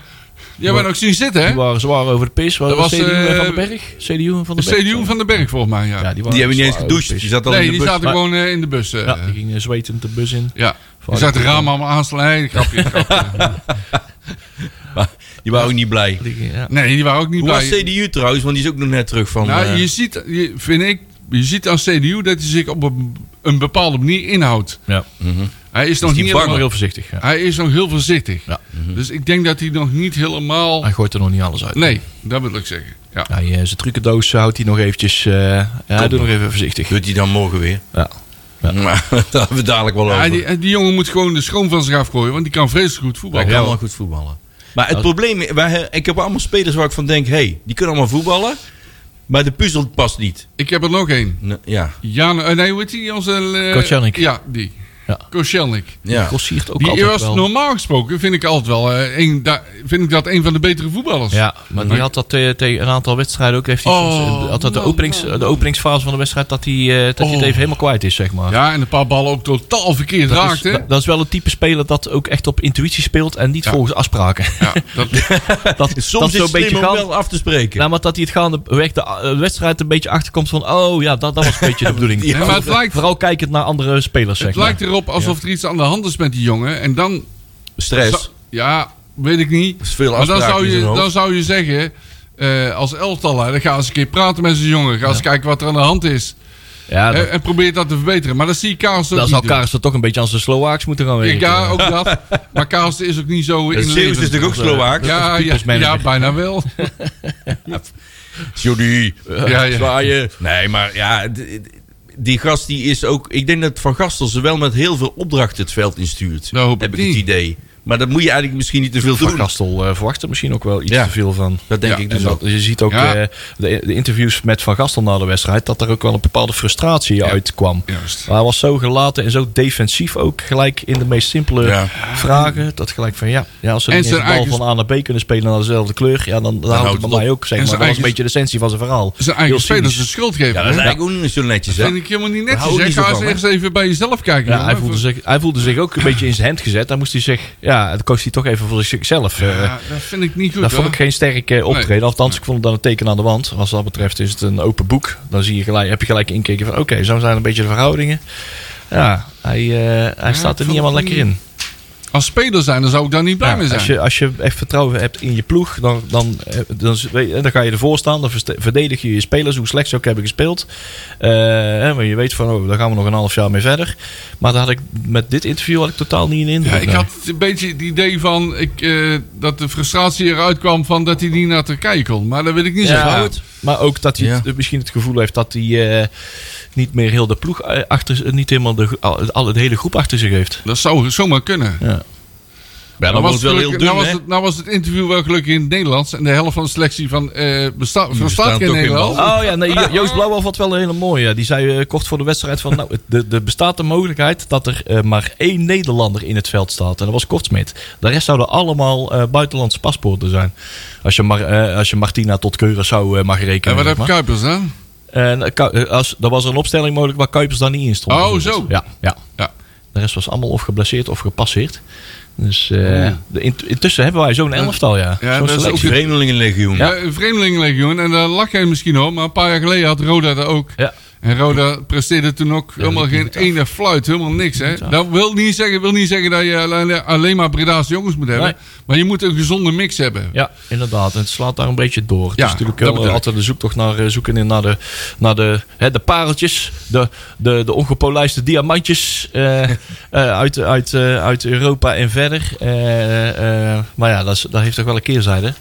C: Jij bent ook zien zitten, hè?
D: Die waren zwaar over de pis. Waar
C: Dat
D: was
C: was,
D: CDU en
C: eh,
D: van den Berg? CDU en van den Berg.
C: Cedioen van den Berg, volgens mij, ja.
D: Ja, die,
B: Die
D: waren
B: hebben niet eens
D: zwaar over de
B: gedoucht. Die
D: pis.
B: zaten al
C: Nee,
B: in de
C: die
B: bus.
C: zaten
D: Maar-
C: gewoon eh, in de bus. eh.
D: Ja, die gingen zwetend de bus in.
C: ja. Die
D: Vaarlijk.
C: zaten raam aan aanslaan. Nee, grapje, grapje.
B: Maar die waren ook niet blij.
D: Die gingen- ja.
C: Nee, die waren ook niet
B: Hoe was
C: blij.
B: CDU trouwens? Want die is ook nog net terug van...
C: Nou,
B: eh,
C: je ziet, je, vind ik, je ziet aan CDU dat hij zich op een, een bepaalde manier inhoudt.
D: Ja.
C: Hij is, nog
D: Die
C: niet
D: waren wel
C: helemaal,
D: heel voorzichtig. Ja.
C: hij is nog heel voorzichtig.
D: Ja. mhm.
C: Dus ik denk dat hij nog niet helemaal...
D: Hij gooit er nog niet alles uit.
C: Nee, dat wil ik zeggen. Ja.
D: Hij, eh, zijn trucendoos houdt hij nog eventjes... eh ja, hij doet nog even voorzichtig.
B: Doet hij dan morgen weer?
D: Ja.
B: Maar daar hebben we dadelijk wel over.
C: Ja, die, die jongen moet gewoon de schoon van zich afgooien, want die kan vreselijk goed
B: Hij
C: voetballen.
B: kan wel goed voetballen. Maar het
D: Als-
B: probleem, wij, ik heb allemaal spelers waar ik van denk, hey, die kunnen allemaal voetballen. Maar de puzzel past niet.
C: Ik heb er nog één.
B: N- ja.
C: Jan, eh, nee, hoe heet die? Onze, eh,
D: Kotjanik.
C: Ja, die.
D: Ja.
C: Koscielnik.
B: ja.
D: Kossiert ook
C: Die
D: altijd
C: was
D: wel.
C: normaal gesproken, vind ik altijd wel, eh, een, da- vind ik dat een van de betere voetballers.
D: Ja, maar die had dat eh, tegen een aantal wedstrijden ook. Heeft hij
C: Oh,
D: soms, eh, had dat de,
C: man,
D: openings, de openingsfase van de wedstrijd dat hij, eh, dat hij
C: Oh.
D: het even helemaal kwijt is, zeg maar.
C: Ja, en een paar ballen ook totaal verkeerd
D: dat, is,
C: raakte.
D: dat- dat is wel het type speler dat ook echt op intuïtie speelt en niet volgens afspraken.
C: ja, dat,
B: Soms
D: Dat, dat
B: is het
D: zo'n beetje
B: slim om
D: gaan.
B: wel af te spreken.
D: Nou, maar dat hij het gaande weg de, eh, wedstrijd een beetje achterkomt van... Oh ja, dat, dat was een beetje de bedoeling.
C: Nee, maar het lijkt,
D: Vooral kijkend naar andere spelers, zeg
C: het
D: maar.
C: lijkt erop alsof er iets aan de hand is met die jongen. En dan
B: Stress.
C: Zo- ja, weet ik niet.
B: is veel
C: maar dan
B: afspraak
C: zou,
B: in
C: je,
B: zijn hoofd.
C: dan zou je zeggen, eh, als elftal, hè, dan ga eens een keer praten met zijn jongen. Ga eens kijken wat er aan de hand is.
D: ja, dat,
C: en, en probeer dat te verbeteren. Maar dat zie je Karels ook
D: dan
C: niet
D: zou
C: doen.
D: Karels er toch een beetje aan zijn Sloaaks moeten gaan werken.
C: Ja, ook dat. Maar Karels is ook niet zo in
B: Zeeuws is natuurlijk ook Slowaak.
C: Ja,
D: eh, is
C: ja,
D: people's manager.
C: ja, bijna wel.
B: Johnny,
C: ja,
B: ja,
C: ja.
B: zwaaien. Nee, maar ja, d- d- die gast die is ook... Ik denk dat Van Gastel ze wel met heel veel opdrachten het veld instuurt.
C: Nou, hoop
B: heb
C: ik
B: ik het
C: niet.
B: idee. Maar dat moet je eigenlijk misschien niet te veel
D: Van
B: doen.
D: Gastel eh, verwacht er misschien ook wel iets
B: Ja.
D: te veel van.
B: Dat denk
C: Ja,
B: ik
D: En
B: dus
D: dat,
B: ook.
D: je ziet ook
C: Ja.
D: eh, de, de interviews met Van Gastel na de wedstrijd... dat er ook wel een bepaalde frustratie uitkwam.
C: Juist.
D: Maar hij was zo gelaten en zo defensief ook. Gelijk in de meest simpele
B: Ja.
D: vragen. Dat gelijk van ja, ja als ze
C: En
D: niet eens
C: zijn
D: de bal
C: eigen-
D: van A naar B kunnen spelen... naar dezelfde kleur, ja, dan, dan, houdt het
B: houdt
D: bij
B: het
D: mij
B: op.
D: ook.
C: En
D: Zeg maar. Dat
C: zijn
D: was een
C: eigen-
D: beetje de essentie van zijn verhaal.
C: Zijn
D: Heel
C: eigen spelers dus de
D: cynisch.
C: schuld geven.
B: Ja,
C: hè?
B: dat is eigenlijk ook niet zo netjes, hè?
C: vind ik helemaal
B: hou
C: niet netjes.
B: ik
C: hè.
B: niet zo
C: Ga eens
B: van, hè.
C: eerst even bij jezelf kijken.
D: Ja,
C: jongen.
D: hij, voelde zich, hij voelde zich ook een beetje in zijn hemd gezet. Daar moest hij zich, ja, het koos hij toch even voor zichzelf. eh,
C: Ja, dat vind ik niet goed.
D: dat vond
C: hoor.
D: ik geen sterk eh, optreden. Althans, ik vond het dan een teken aan de wand. Wat dat betreft is het een open boek. Dan zie je gelijk, heb je gelijk inkeken van... oké, zo zijn een beetje de verhoudingen. Ja, hij, eh, hij
C: ik
D: staat er
C: vond
D: niet helemaal
C: het
D: lekker
C: niet-
D: in.
C: Als speler zijn, dan zou ik daar niet blij
D: Ja,
C: mee zijn.
D: als, je, als je echt vertrouwen hebt in je ploeg... dan, dan, eh, dan, is- weet je, dan ga je ervoor staan. Dan verste- verdedig je je spelers, hoe slecht ze ook hebben gespeeld. Eh, hè, maar je weet van, oh, daar gaan we nog een half jaar mee verder. Maar daar had ik, met dit interview had ik totaal niet in indruk.
C: Ja, ik
D: nee.
C: had een beetje het idee van ik, eh, dat de frustratie eruit kwam van dat hij niet naar Turkije kon. Maar dat wil ik niet zo
D: Ja,
C: goed.
D: Maar ook dat hij
B: Ja.
D: het- misschien het gevoel heeft dat hij eh, niet meer heel de ploeg eh, achter zich- niet helemaal de, al, al- de hele groep achter zich heeft.
C: Dat zou zomaar kunnen.
B: Ja, dan wordt het wel heel
C: gelukkig-
B: dun,
C: nou, was
B: hè?
C: het, nou was het interview wel gelukkig in het Nederlands. En de helft van de selectie van, eh besta verstaat
B: bestaan
C: geen
B: toch geen
C: Nederlands.
B: bal.
D: Oh ja, nee, Jo- Joost Blauwhoff had wel een hele mooie. Die zei eh, kort voor de wedstrijd van, nou, er er bestaat de mogelijkheid dat er eh, maar één Nederlander in het veld staat. En dat was Kortsmit. De rest zouden allemaal eh, buitenlandse paspoorten zijn. Als je, Mar- eh, als je Martina tot Keuren zou eh, mag rekenen.
C: en wat
D: zeg
C: heb
D: maar.
C: Kuipers dan?
D: En Ku- eh, als, er was een opstelling mogelijk waar Kuipers dan niet in stond.
C: Oh,
D: bijvoorbeeld.
C: zo.
D: Ja, ja.
C: Ja.
D: De rest was allemaal of geblesseerd of gepasseerd. Dus eh,
C: Oh, Ja.
D: de- int- intussen hebben wij zo'n elftal, ja.
C: Ja,
D: zo'n
C: dat is
B: Dat is
D: selectie.
B: ook Vreemdelingenlegioen.
C: Ja. Eh, Vreemdelingenlegioen. En daar lag hij misschien om. Maar een paar jaar geleden had Roda dat ook.
D: Ja.
C: En Roda presteerde toen ook helemaal
D: liep
C: geen
D: niet af.
C: ene fluit. Helemaal niks. Hè?
D: niet af.
C: Dat wil niet, zeggen, wil niet zeggen dat je alleen- alleen maar Breda's jongens moet hebben.
D: Nee.
C: Maar je moet een gezonde mix hebben.
D: Ja, inderdaad. En het slaat daar een beetje door. Het
C: Ja,
D: is natuurlijk
C: dat
D: wel
C: bedoel ik.
D: altijd de zoektocht naar, eh, zoeken in naar de, naar de, hè, de pareltjes. De, de, de ongepolijste diamantjes eh, eh, uit, uit, eh, uit Europa en verder. Eh, eh, maar ja, dat, is- dat heeft toch wel een keerzijde.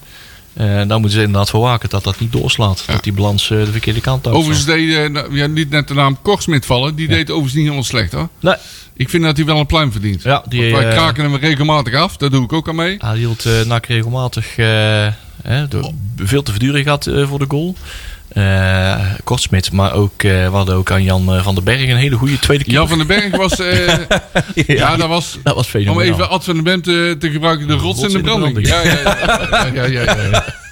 D: Eh daar moeten ze inderdaad voor waken dat dat niet doorslaat. Dat die balans eh, de verkeerde kant uit
C: Overigens deed, eh, nou, ja, niet net de naam Korsmit vallen. Die deed overigens niet helemaal slecht hoor.
D: Nee,
C: Ik vind dat hij wel een pluim verdient.
D: ja, die,
C: Want wij
D: eh,
C: kraken hem regelmatig af. Dat doe ik ook aan mee.
D: Hij hield eh NAC regelmatig eh, hè,
B: Oh.
D: door- veel te verduren gehad eh, voor de goal. Eh Kortsmit, maar ook, eh, we hadden ook aan Jan eh, van den Berg een hele goede tweede keer.
C: Jan van den Berg was... eh,
D: ja,
C: ja, dat was...
D: dat was
C: Om
D: fenomenaal.
C: even Ad van den Bent te, te gebruiken, de rots, in de branding. Ja, ja, ja. ja, ja, ja, ja.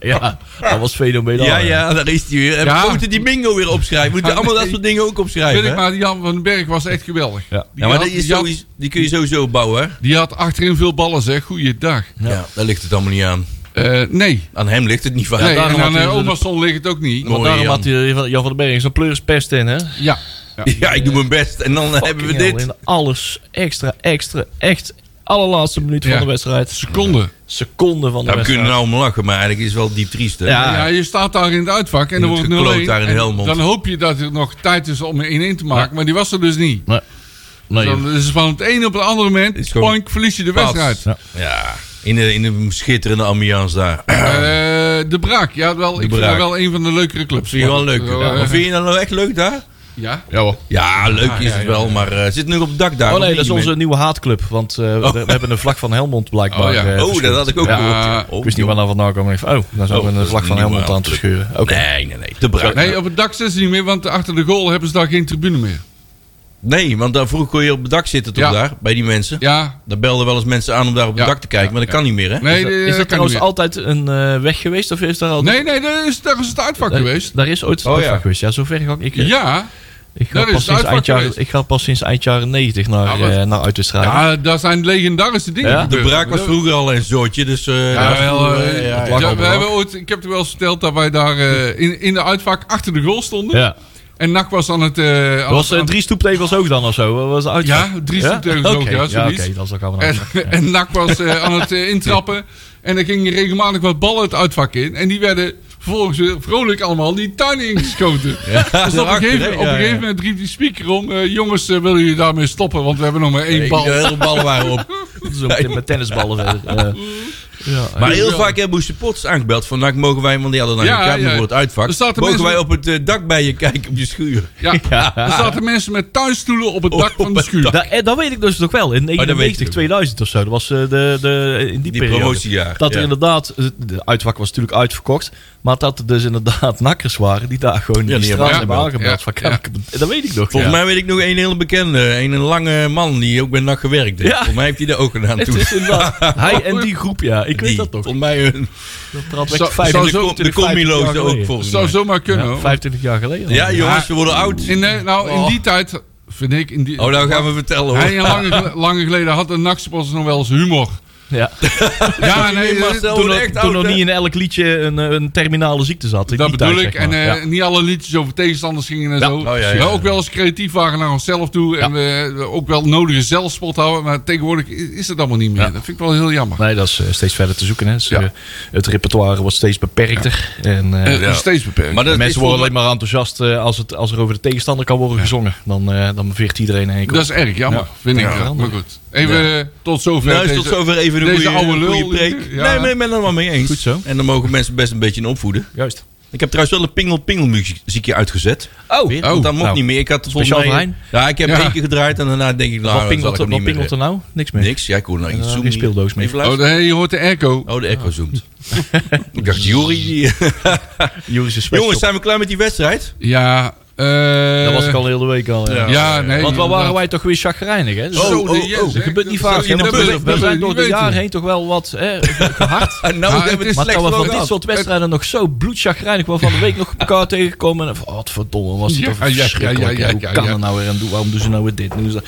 D: Ja, dat was fenomenaal.
B: Ja, ja, daar is hij weer. En
C: Ja.
B: We moeten die bingo weer opschrijven. We moeten
C: Ah,
B: allemaal dat
C: nee.
B: soort dingen ook opschrijven.
C: Weet ik
B: hè?
C: maar, die Jan van den Berg was echt geweldig.
D: Ja.
B: ja, maar
C: had-
B: die, is
C: had-
B: sowieso- die kun je sowieso bouwen, hè?
C: die had achterin veel ballen, zeg. Goeiedag.
B: Ja. daar ligt het allemaal niet aan.
C: Eh nee.
B: Aan hem ligt het niet van.
C: nee.
D: daarom
C: En aan
D: had hij
C: eh,
D: de-
C: Omerson ligt het ook niet.
D: Maar
B: Mooi,
D: daarom
B: Jan.
D: had hij, van- Jan van den Berg zo'n pleurspest in, hè?
C: Ja. ja.
B: Ja, ik doe mijn best. En dan hebben we
D: Fucking hell,
B: dit.
D: in alles extra, extra, echt allerlaatste minuut
C: Ja.
D: van de wedstrijd.
C: Seconde.
D: Seconde van de
B: Nou, we kunnen
D: wedstrijd.
B: nou om lachen, maar eigenlijk is het wel diep triest. Hè?
D: Ja.
C: Ja, je staat daar in het uitvak en dan
B: wordt
C: wordt
B: Ah. gekloot
C: 0
B: daar in Helmond.
C: Dan hoop je dat er nog tijd is om er 1-1 te maken, maar die was er dus niet.
D: Nee, Oh,
C: Dan is het van het ene op het andere moment,
B: is gewoon
C: poink, verlies je de
B: Pas.
C: wedstrijd.
D: Ja.
B: Ja, in de, in de schitterende ambiance daar.
C: Eh, de Braak, ja, wel, ik vind
B: Braak.
C: dat wel een van de leukere clubs.
B: Vind je wel leuk?
C: Zo,
B: Ja.
C: eh,
B: Maar vind je dat nou echt leuk daar?
C: Ja?
B: Ja, ja leuk is
C: ja,
B: het
C: ja,
B: wel, maar eh, zit nu op het dak daar.
D: Oh
B: of
D: nee,
B: niet,
D: dat is onze
B: met-
D: nieuwe haatclub. Want eh, we, we hebben een vlag van Helmond blijkbaar.
C: Oh ja.
D: eh,
B: Oh, dat
D: verschoond.
B: had ik ook
D: Ja.
B: gehoord.
C: Ja,
B: ja.
C: ik
B: Oh,
D: Ik wist niet waar dat vandaan kwam. maar ik dacht, Oh, dan zijn
B: Oh,
D: we een
B: dat
D: vlag
B: is
D: van
B: een
D: Helmond
B: nieuwe
D: aan het verscheuren. Oké.
B: Nee, nee, nee. Te bruin. Nee,
C: Nee, op het dak zitten ze niet meer, want achter de goal hebben ze daar geen tribune meer.
B: want daar vroeger kon je op het dak zitten toch
C: Ja.
B: daar, bij die mensen.
C: Ja.
B: Daar belden wel eens mensen aan om daar op het
C: Ja.
B: dak te kijken, maar dat kan niet meer, hè?
C: Nee,
D: Is
C: eh,
D: dat- Is dat
C: kan niet
D: trouwens
C: meer.
D: altijd een eh, weg geweest? Of is daar al...
C: Nee, nee, daar is, daar is het uitvak
D: Daar-
C: geweest.
D: Daar is ooit het
B: Oh,
D: uitvak
B: ja.
D: geweest. Ja, zover ga ik.
C: Ja.
D: Ik, ik, ga
C: daar is
D: pas
C: het
D: sinds
C: uitvak
D: eind jaren,
C: geweest.
D: ik ga pas sinds eind jaren 90 naar,
C: Ja,
D: eh
C: maar-
D: naar Uitwedstrijden.
C: Ja, daar zijn legendarische dingen
D: Ja?
B: De
C: gebeurd.
B: braak was vroeger al een zootje, dus... eh,
C: Ja,
B: dat was
C: wel,
B: vroeger,
C: eh,
B: eh,
C: ja,
B: het lag al
C: we
B: brak.
C: hebben ooit, ik heb er wel eens verteld dat wij daar eh, in, in de uitvak achter de goal stonden.
D: Ja.
C: En NAC was aan het... eh, aan
D: Er was
C: het-
D: eh,
C: aan-
D: drie stoeptegels ook dan of zo? Wat Was het uitvak?
C: Ja, drie stoeptegels ook,
D: Oké,
C: ja,
D: Ja,
C: zoiets.
D: oké, dat is ook allemaal
C: En, en NAC was eh, aan het eh, intrappen. En er gingen regelmatig wat ballen het uitvak in. En die werden vervolgens weer vrolijk allemaal die tuin ingeschoten. dus op een
B: achter,
C: gegeven,
B: hè?
C: op een
B: Ja,
C: gegeven
B: ja.
C: moment riep die speaker om... eh, jongens, eh, willen jullie daarmee stoppen? Want we hebben nog maar één
B: Nee,
C: bal.
B: De hele ballen waren op.
D: Zo meteen met tennisballen verder. eh. ja, eh.
B: Maar heel
C: Ja.
B: vaak hebben we supporters aangebeld van... Nou, mogen wij, want die hadden dan
C: Dus Ja,
B: een kaart
C: ja.
B: voor het uitvak.
C: Er staat een
B: mogen
C: mensen-
B: wij op het eh, dak bij je kijken op je schuur?
C: Ja. Er zaten mensen met tuinstoelen op het dak van de schuur.
D: Da- eh, dat weet ik dus nog wel. In
B: Oh, dat weet
D: 99,
B: je nog.
D: 2000 of zo. Dat was eh, de, de, in die,
B: Die
D: periode.
B: promotiejaar,
D: Dat er
B: ja.
D: inderdaad... eh, De uitvak was natuurlijk uitverkocht. Maar dat er dus inderdaad nakkers waren... die daar gewoon
B: die
D: in de
B: hebben
D: straat hebben
B: aangebeld.
D: aangebeld.
C: Ja.
D: Van, kan ik- Dat weet ik nog.
B: Volgens
D: ja.
B: mij weet ik nog een hele bekende. Een, een lange man die ook bij NAC gewerkt heeft.
D: Ja.
B: Volgens mij heeft hij de ook gedaan
D: Het
B: toen.
D: is inderdaad... Hij en die groep, ja. Ik weet
B: Die,
D: dat nog.
B: Volgens mij hun...
D: Dat trad
C: Zo-
D: weg
C: zo-
B: En
C: zo-
B: de,
C: zo-
B: com- de combilo's ook
D: voor.
B: volgens
C: Zou
B: mij.
C: zomaar kunnen. hoor.
D: 25 jaar geleden.
B: Ja, jongens, we worden oud.
C: In, eh, nou, in die tijd, vind ik... In die,
B: Oh, nou gaan we vertellen
C: Hij
B: hoor.
C: en lange, gel- lange geleden had een nachtsponsor nog wel eens humor.
D: Ja.
C: Ja, nee,
B: Marcel
C: dat-
B: wordt
D: Toen,
B: echt
D: toen
B: oud,
D: nog
B: hè?
D: niet in elk liedje een, eh, een terminale ziekte zat. In
C: dat
D: die tijd,
C: bedoel ik.
D: zeg
C: En
D: maar.
C: eh,
D: Ja.
C: niet alle liedjes over tegenstanders gingen en
D: Ja.
C: zo.
B: Oh, ja, ja,
C: We
B: ja.
C: ook wel eens creatief waren naar onszelf toe. En we eh, ook wel nodige zelfspot houden. Maar tegenwoordig is is dat allemaal niet meer. Dat vind ik wel heel jammer.
D: Nee, dat is eh, steeds verder te zoeken. Hè. Dus,
C: Ja.
D: eh, het repertoire wordt steeds beperkter. En, eh,
C: Eh, nog steeds beperkt.
B: Maar
D: de
B: dat is
D: mensen worden
B: volgens
D: alleen maar enthousiast eh, als, het, als er over de tegenstander kan worden gezongen. Dan, eh, dan veegt iedereen een enkel.
C: dat is erg jammer, vind ik.
D: Ja.
C: wel. Maar goed. Even eh, tot zover.
B: Nou, is
C: deze-
B: tot zover even een
C: deze
B: goede,
C: oude lul
B: goede preek.
C: hier, ja.
B: Nee, maar ik ben het er wel mee eens.
D: Goed zo.
B: En dan mogen mensen best een beetje in opvoeden.
D: Juist.
B: Ik heb trouwens wel een pingel-pingel muziekje uitgezet.
D: Oh,
B: Weer, want dat mocht
D: Nou,
B: niet meer. Ik had het
D: speciaal
B: volgens mij-
D: voor
B: Ja, ik heb
C: Ja.
B: één keer gedraaid en daarna denk ik, nou,
D: wat
B: dat zal
D: pingelt,
B: ik hem
D: er- wat
B: niet meer...
D: pingelt er nou? Niks meer.
B: Niks, ja, ik hoor nou iets
D: Eh,
B: zoomen.
D: geen speeldoos meer.
B: Even
C: Oh,
B: luisteren.
C: nee, je hoort de airco.
B: Oh, de echo zoomt. ik dacht, Jury. die- eh,
D: Joris is
B: Jongens, eh, zijn we klaar met die wedstrijd?
C: Ja, eh,
D: Dat was ik al heel de week al. Ja.
C: Ja, nee.
D: Want waar waren
C: inderdaad.
D: wij toch weer chagrijnig, hè? Dus
B: Oh,
C: Zo, de
B: oh,
C: Jens,
B: oh, dat
C: hè.
D: gebeurt niet
C: Dat
D: vaak.
C: zou je
D: hè?
B: in de bus-
C: niet
D: We-
C: weten.
D: We we
C: Dat zou je
D: zijn door
C: niet
D: de
C: weten.
D: jaren heen toch wel wat hè, gehard.
B: En
C: Maar
B: nou hebben
C: het
B: we
C: is
B: het
D: Maar
B: slecht wel
D: dat we van dit
B: gehad.
D: soort wedstrijden nog zo bloedchagrijnig... waar van de week nog elkaar tegenkomen. En, van, oh, wat verdomme was het
C: Ja,
D: toch
C: ja, ja, ja,
D: verschrikkelijk.
C: ja,
D: hè? Hoe
C: ja,
D: kan
C: ja.
D: er nou weer aan doen? Waarom doen ze nou weer dit? Doen ze dat?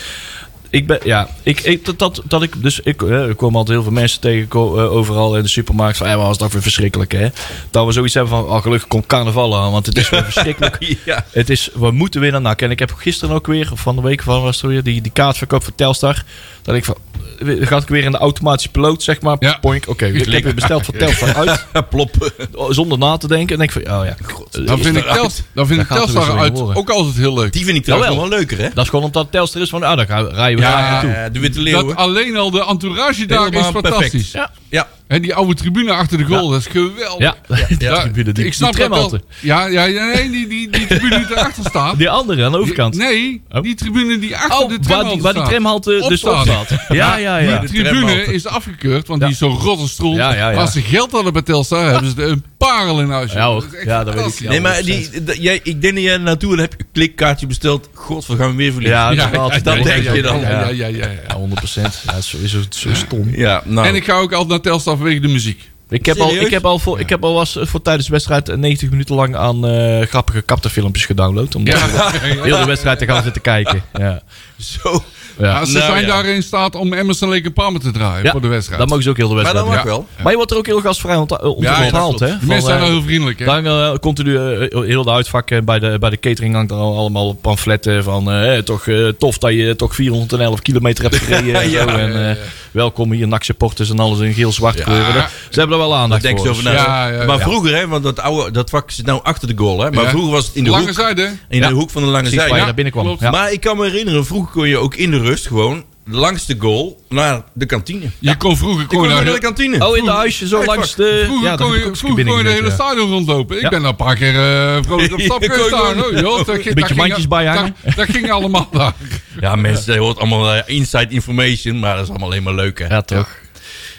D: Ik ben, ja, ik, ik, dat, dat, dat ik, dus ik, eh, ik kwam altijd heel veel mensen tegen ko- eh, overal in de supermarkt. Van, ja, maar was dat weer verschrikkelijk, hè? Dat we zoiets hebben van, oh, gelukkig komt carnaval aan, want het is weer verschrikkelijk.
B: Ja.
D: Het is, we moeten weer naar NAC. En ik heb gisteren ook weer, of van de week van was het weer, die, die kaartverkoop voor Telstar. Dat ik van, eh, gaat ik weer in de automatische piloot, zeg maar.
C: Ja.
D: Poink, oké, ik heb weer besteld voor Telstar uit.
B: Plop.
D: Zonder na te denken. En denk ik van, oh ja, god.
C: Dan vind ik,
B: eruit.
C: Tels, dan vind ik
D: gaat er weer
C: Telstar
D: zo in
C: uit
D: horen.
C: ook altijd heel leuk.
B: Die vind ik trouwens nog
D: Jawel.
B: wel leuker, hè?
D: Dat is gewoon omdat Telstar is van, ah, daar gaan we- rijden we
C: Ja,
D: daar naartoe.
B: Eh, de Witte Leeuwen.
C: Dat alleen al de entourage daar is
B: Helemaal perfect.
C: fantastisch.
D: Ja,
B: Ja.
C: En die oude tribune achter de goal, dat is geweldig.
D: ja. Die
C: Ja,
D: tribune, die,
C: ik snap
D: die tram
C: dat wel.
D: altijd.
C: Ja, ja, ja, nee, die, die, die tribune die erachter staat.
D: Die andere aan de overkant.
C: Nee,
D: Oh.
C: die tribune die achter
D: Oh,
C: de
D: waar
C: tramhalte
D: die, waar die
C: staat.
D: tramhalte dus op
C: Opstaat.
D: staat. Ja, ja, ja.
C: Die
B: de
C: tribune
B: tramhalte.
C: is afgekeurd, want
D: Ja.
C: die is zo rot als stront.
D: Ja, ja, ja.
C: Maar Als ze geld hadden bij Telstar, hebben ze er een parel in huis.
D: Ja, hoor.
C: is echt
D: Ja, dat weet ik.
C: fantastisch.
B: Nee, maar die, dat- jij, ik denk dat jij er naartoe en heb je een klikkaartje besteld. God, we gaan weer verliezen.
D: Ja,
C: Ja,
D: dat,
C: ja,
D: dat
C: ja,
B: denk
C: ja,
B: je
C: ja,
B: dan.
C: Ja, ja, ja, ja, ja.
D: Ja, 100%. Ja, zo is het zo stom.
B: Ja, nou.
C: En ik ga ook altijd naar Telstar vanwege de muziek.
D: Ik heb, al,
B: Serieus?
D: ik, heb al voor, ik heb al was eh, voor tijdens de wedstrijd eh, 90 minuten lang aan eh, grappige kapterfilmpjes gedownload. Om heel de wedstrijd te gaan zitten kijken. Ja.
B: zo.
C: Ja,
D: Ja.
C: ze
B: Nou,
C: zijn
B: ja.
C: daar in staat om Emerson Lake en Palmer te draaien
D: Ja,
C: voor de wedstrijd.
D: Dan mogen ze ook heel de
B: Maar
D: wedstrijd
B: dat mag
D: doen.
B: wel.
D: Maar je wordt er ook heel gastvrij ont- eh, ont-
C: Ja, ja,
D: onthaald.
B: dat
D: hè?
C: de mensen
D: Van,
C: zijn
D: eh,
C: wel heel vriendelijk, hè?
D: dan eh, continu eh, heel de uitvak eh, bij de, bij de catering hangt dan al- allemaal pamfletten van eh, toch eh, tof dat je toch 411 kilometer hebt gereden en zo. En, eh, welkom hier NAC supporters en alles in geel-zwart kleuren. Ze hebben er wel
B: Daar
D: aandacht
B: denk
D: voor.
B: ze over nou? na.
C: Ja, ja,
B: maar
C: ja.
B: vroeger, hè, want dat, oude, dat vak zit nou achter de goal. Hè, maar
C: Ja.
B: vroeger was het in de,
C: Lange
B: hoek,
C: zijde.
B: in
D: Ja.
B: de hoek van de lange
D: Precies, waar
B: zijde.
D: je
B: Ja.
D: naar binnen kwam.
C: klopt.
D: Ja.
B: Maar ik kan me herinneren, vroeger kon je ook in de rust gewoon langs de goal naar de kantine. Ik
C: Je kon vroeger
B: kon
C: gewoon naar
B: naar de
C: heel-
B: kantine.
D: Oh, in de huisje zo
B: Uitvak.
D: langs de...
C: Vroeger
D: ja,
C: kon
D: heb ik
C: je,
D: ook
C: vroeger kon je de
D: binnen
C: hele
D: gezeten, ja.
C: stadion rondlopen. Ik
D: Ja.
C: ben daar een paar keer eh vrolijk op stap
B: Ja,
C: geweest
B: kon je
C: staan.
B: doen.
C: hoor. Joh, dat, ging- dat ging-
D: mandjes bijhangen.
C: Dat, dat ging allemaal daar.
B: Ja, mensen, dat hoort allemaal eh, inside information, maar dat is allemaal alleen maar leuk. Hè.
D: Ja, toch.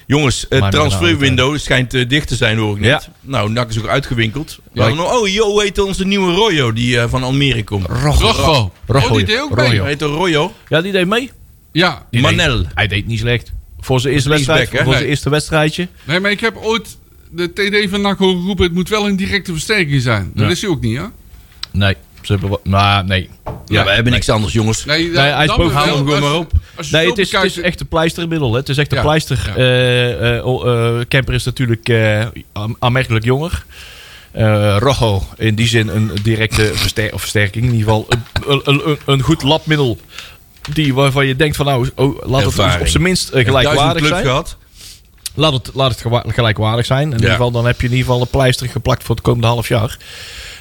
B: Jongens, het
D: Maar met een
B: transferwindow schijnt eh, dicht te zijn, hoor ik net.
D: Ja.
B: Nou, Nak is ook uitgewinkeld.
C: Ja, ik-
B: Nou, Oh, joh, heet onze nieuwe Royo, die eh, van Almere komt.
C: Rocho.
D: Rocho,
C: Oh, die deed ook
D: Rocho.
C: mee.
B: Hij heet de Royo.
D: Ja, die deed mee.
C: Ja.
D: Die
B: Manel.
D: deed- hij deed niet slecht. Voor zijn eerste,
B: Linksback,
D: wedstrijd,
B: hè?
D: voor zijn
C: Nee.
D: eerste wedstrijdje.
C: Nee, maar ik heb ooit de TD van NAC horen roepen... het moet wel een directe versterking zijn. Dat
D: Ja.
C: is hij ook niet, hè?
D: Nee. Ze hebben, wat- maar nee.
B: Ja, we hebben niks anders, jongens.
C: Nee,
D: Nee, hij is
C: dan
D: boven-
C: wel,
B: haal hem gewoon
C: als-
B: maar op.
C: als je
D: Nee,
C: zo
D: het is, het
C: bekijkt-
D: is echt een pleistermiddel. Hè. Het is echt een
C: Ja.
D: pleister.
C: Ja.
D: Eh, eh, oh, eh, Kemper is natuurlijk eh, aan- aanmerkelijk jonger. Eh Rojo, in die zin een directe verster- of versterking. In ieder geval een, een, een, een goed labmiddel. Die waarvan je denkt van nou, oh, laat het
B: Ervaring.
D: op zijn minst eh,
B: Duizend
D: gelijkwaardig
B: clubs
D: zijn.
B: gehad.
D: Laat het, laat het gewa- gelijkwaardig zijn. In ieder geval, dan heb je in ieder geval een pleister geplakt voor het komende half jaar.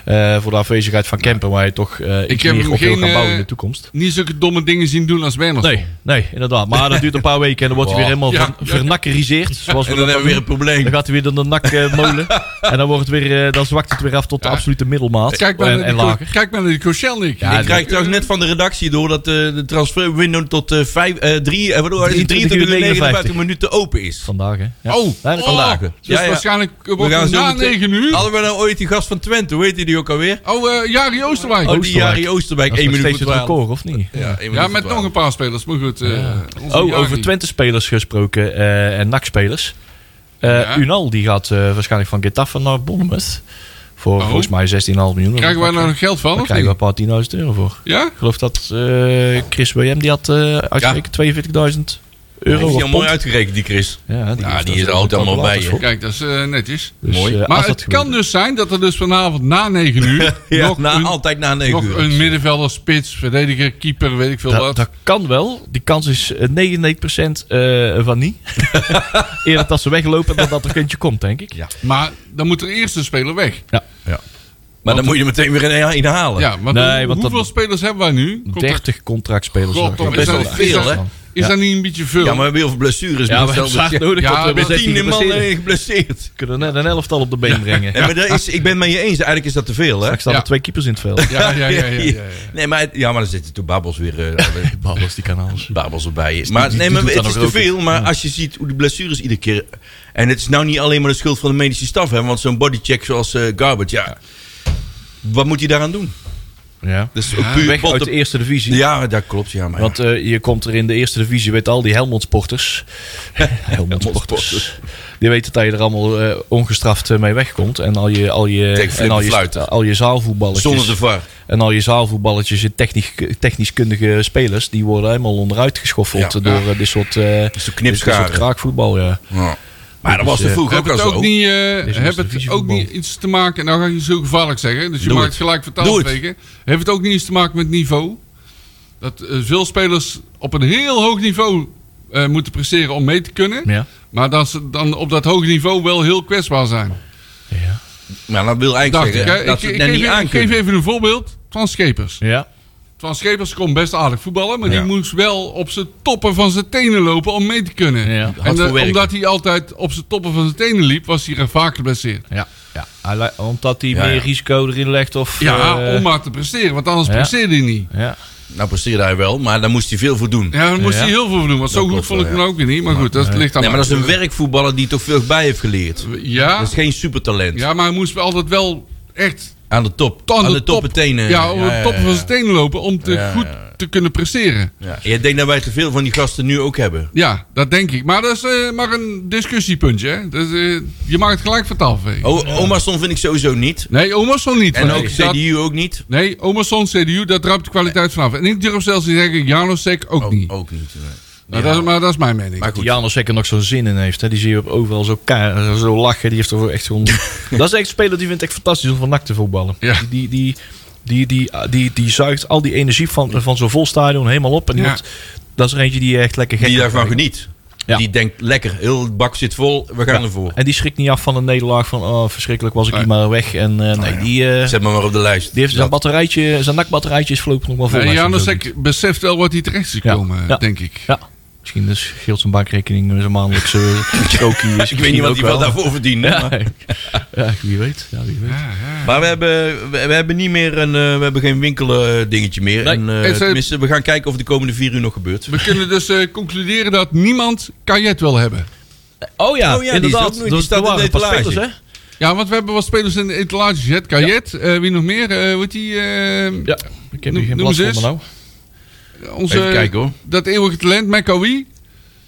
D: Eh, voor de afwezigheid van Kemper, waar je toch eh iets
C: heb
D: meer
C: hem
D: op wil
C: geen,
D: gaan bouwen in
C: eh,
D: de toekomst.
C: Niet zulke domme dingen zien doen als Werner.
D: Nee, nee, inderdaad. Maar dat duurt een paar weken en dan wordt hij weer helemaal
C: Ja,
D: ver-
C: ja.
D: vernakkeriseerd. Zoals we
B: En dan
D: dat
B: hebben we weer een probleem.
D: dan gaat hij weer door de nak eh, molen. en dan, wordt het weer, eh, dan zwakt het weer af tot de
C: Ja.
D: absolute middelmaat.
C: Kijk maar,
D: en, en
C: naar die,
D: lager.
C: kijk maar naar die Koscielnik.
D: Ja,
B: ik krijg trouwens net van de redactie door dat eh, de transferwindow tot eh 5, eh 3, eh, wat is het?
D: 23 uur
B: 23 uur 59
D: 59
B: minuten open is.
D: Vandaag, hè? Ja.
C: Oh,
D: Ja, dat-
B: vandaag.
C: Dus
B: Ja, ja.
C: waarschijnlijk
B: We
C: wordt
B: gaan
C: het
B: zo
C: na
B: meteen-
C: 9 uur.
B: Hadden we nou ooit die gast van Twente, hoe heette die ook alweer?
C: Oh, eh Jari Oosterwijk.
B: Oh, die
D: Oosterwijk.
B: Jari Oosterwijk,
D: Dat is
B: 1
D: nog
B: minuut
D: steeds
B: voor
D: het
B: 12.
D: record, of niet?
B: Ja,
C: Ja, met nog een paar spelers. Maar goed, eh, onze
D: Oh,
C: Jari.
D: over Twente-spelers gesproken eh, en NAC-spelers. Eh,
C: Ja.
D: Unal die gaat eh, waarschijnlijk van Getafe naar Bournemouth. Voor
C: Oh.
D: volgens mij 16,5 miljoen.
C: Krijgen wij
D: Daar
C: daar nog geld van? Of
D: krijgen we
C: niet?
D: een paar tienduizend euro voor.
C: Ja?
D: Ik geloof dat eh, Chris William die had eh uitgerekend 42.000 euro.
B: Heeft
D: of
B: hij al mooi
D: pond.
B: uitgerekend, die Chris.
D: Ja, die,
B: Ja,
D: is-
B: die
D: dat
B: is er altijd
D: ook
B: allemaal bij,
D: later
B: hè.
D: voor.
C: Kijk, dat is eh, netjes.
D: Dus,
B: Mooi.
D: eh, als
C: Maar
D: dat
C: het
D: gebeurt-
C: kan dus zijn dat er dus vanavond na 9 uur
B: Ja,
C: nog,
B: na,
C: een,
B: altijd na 9
C: nog
B: uur.
C: een middenvelder, spits, verdediger, keeper, weet ik veel
D: Dat,
C: wat.
D: dat kan wel. Die kans is eh, 99% eh, van niet. Eerder dat ze weglopen dan dat er kindje komt, denk ik. Ja,
C: Maar dan moet er eerst een speler weg.
B: maar dan moet je er meteen weer een inhalen.
C: Ja, maar
D: Nee,
C: hoe-
D: want
C: hoeveel
D: dat-
C: spelers hebben wij nu? Komt er-
D: 30 contractspelers.
C: God,
D: zag ik.
C: toch,
D: Ja,
B: best
C: is
B: wel
C: dat-
B: veel,
C: is
B: hè?
C: dat- Is dat niet een beetje veel?
B: Ja, maar we hebben heel veel blessures.
D: Ja, we
B: Hetzelfde-
D: hebben zwaar nodig.
C: Ja,
D: want
C: we
D: we
C: hebben
D: hebben
B: Tien
D: 16
B: man
D: geblesseerd.
B: eh, geblesseerd.
D: We kunnen net een elftal op de been brengen.
B: Nee, maar dat is, ik ben het met je eens. Eigenlijk is dat te veel, hè?
D: Straks staan
C: Ja.
D: er twee keepers in het veld.
C: Ja, ja, ja, ja, ja, ja.
B: Nee, maar, het- ja, maar dan zitten toen Babels weer eh
D: Babbels, die kan alles.
B: Babels erbij is. Maar,
D: die-
B: nee,
D: die
B: maar
D: doet
B: het
D: dat
B: is
D: nog
B: te
D: ook.
B: veel. Maar als je ziet hoe de blessures iedere keer... En het is nou niet alleen maar de schuld van de medische staf. Hè, want zo'n bodycheck zoals eh Garbert, ja... Wat moet hij daaraan doen?
D: Ja.
B: Dat is ook puur
D: Dus Weg
B: botte-
D: uit de eerste divisie.
B: Ja, dat klopt. Ja, maar ja.
D: Want eh, je komt er in de eerste divisie met al die Helmond-sporters. Helmond-sporters. Die weten dat je er allemaal eh, ongestraft eh, mee wegkomt. En al je, al je,
B: Tegen
D: en al
B: flipperfluiten.
D: je, al je zaalvoetballetjes.
B: zonder de VAR.
D: En al je zaalvoetballetjes en technisch, technischkundige spelers. Die worden helemaal onderuit geschoffeld
B: Ja.
D: door eh, dit soort, eh dit
B: zo'n
D: dit soort
B: knipscharen.
D: kraakvoetbal. Ja.
B: Ja. Maar dat
D: Dus,
B: was te
D: eh,
B: vroeg
C: Heb
B: ook al
C: het ook,
B: zo.
C: niet, eh,
D: is
C: heb het ook
D: Eredivisie-voetbal.
C: niet iets te maken... Nou ga ik je zo gevaarlijk zeggen, dus je
B: Doe
C: maakt
B: het.
C: het gelijk
B: Doe
C: vertaald
B: het.
C: tegen. Heeft het ook niet iets te maken met niveau? Dat eh, veel spelers op een heel hoog niveau eh, moeten presteren om mee te kunnen.
D: Ja.
C: Maar dat ze dan op dat hoge niveau wel heel kwetsbaar zijn.
D: Ja.
B: Maar dat wil
C: Dacht
B: eigenlijk
C: ik,
B: zeggen
C: hè?
B: dat
C: Ik,
B: ze
C: ik,
B: het
C: geef,
B: net niet
C: even-
B: aan
C: ik geef
B: kunnen.
C: even een voorbeeld. Twan Schepers.
D: ja.
C: Twan Schepers kon best aardig voetballen, maar
B: Ja.
C: die moest wel op zijn toppen van zijn tenen lopen om mee te kunnen.
D: Ja.
C: En
D: Hard
B: voor
C: dat-
B: werken.
C: omdat hij altijd op zijn toppen van zijn tenen liep, was hij vaak geblesseerd.
D: Ja. ja. Hij li- Omdat hij
B: Ja,
D: meer
B: ja.
D: risico erin legt. Of,
C: Ja,
D: eh,
C: om maar te presteren, want anders
D: ja.
C: presteerde hij niet.
D: ja.
B: Nou presteerde hij wel, maar daar moest hij veel voor doen.
C: Ja, daar moest
D: Ja.
C: hij heel veel voor doen, want zo
B: Dat
C: goed
B: klopt
C: vond ik
B: wel,
C: hem ook weer niet. Maar goed, dat ligt aan
B: Nee, maar dat is een werkvoetballer die toch veel bij heeft geleerd.
C: Ja,
B: Dat is geen supertalent.
C: ja, maar hij moest altijd wel echt
B: Aan de top. eh,
C: aan
B: aan
C: de
B: de toppen
C: top-
B: tenen.
C: ja, op de toppen van zijn tenen lopen om te,
B: Ja, ja,
C: goed te kunnen presteren.
B: ja. Je denkt dat wij te veel van die gasten nu ook hebben.
C: Ja, dat denk ik. Maar dat is eh, maar een discussiepuntje. Hè. Dus, eh, je maakt het gelijk van tafel. hè.
B: O, Omerson vind ik sowieso niet.
C: Nee, Omerson niet.
B: En
C: want
B: ook
C: ik- dat-
B: CDU ook niet.
C: Nee, Omerson, CDU, dat ruimt de kwaliteit vanaf. En ik durf zelfs te zeggen, Janosek ook niet.
B: Ook niet. nee.
C: Nou, dat is, maar dat is mijn mening.
B: Oh, Maar goed.
D: Jan als er nog zo'n zin in heeft. Hè. Die zie je op overal zo, ka- zo lachen. Die heeft er echt zo'n... dat is echt een speler die vindt echt fantastisch om van nak te voetballen.
C: Ja.
D: Die, die, die, die, die, die, die zuigt al die energie van, van zo'n vol stadion helemaal op. En die
C: Ja.
D: wordt- dat is er eentje die echt lekker gek
B: Die daarvan
D: wordt.
B: geniet.
D: Ja.
B: Die denkt lekker, heel het bak zit vol, we gaan ervoor.
D: En die schrikt niet af van een nederlaag. Van oh, verschrikkelijk was ik hier maar weg. En eh, nee, die, eh,
B: Zet me maar op de lijst.
D: die heeft zijn
B: Dat-
D: batterijtje, zijn nakbatterijtje is voorlopig nog maar vol.
C: Nee,
D: als je hem zo
C: Janosek beseft wel wat hij terecht is
D: Ja.
C: gekomen,
D: Ja.
C: denk ik.
D: doet. Ja. Misschien dus scheelt zijn bankrekening dus zijn maandelijkse kokie.
B: Ik weet niet wat hij wel daarvoor verdient. hè,
D: Ja,
B: maar-
D: ja, wie weet. Ja, wie weet.
C: Ah.
B: Maar we hebben, we, we hebben niet meer een, eh, we hebben geen winkeldingetje dingetje meer.
D: Nee.
B: En, eh,
C: Is het-
B: tenminste, we gaan kijken of de komende vier uur nog gebeurt.
C: We kunnen dus eh, concluderen dat niemand kajet wil hebben.
D: Oh ja,
B: Oh ja, die is ook
D: inderdaad. Dus
B: nooit-
D: Dat
B: die
D: is
B: staat in de
D: de
B: etalage.
D: hè?
C: Ja, want we hebben wat spelers in de etalage gezet. Kajet, eh, wie nog meer? Eh, hoe heet die? eh,
D: Ja, ik
C: Noem-
D: heb hier geen
C: noem
D: blad
C: eens
D: voor me nou.
C: Onze,
B: Even kijken, hoor.
C: Dat eeuwige talent, Mekawi.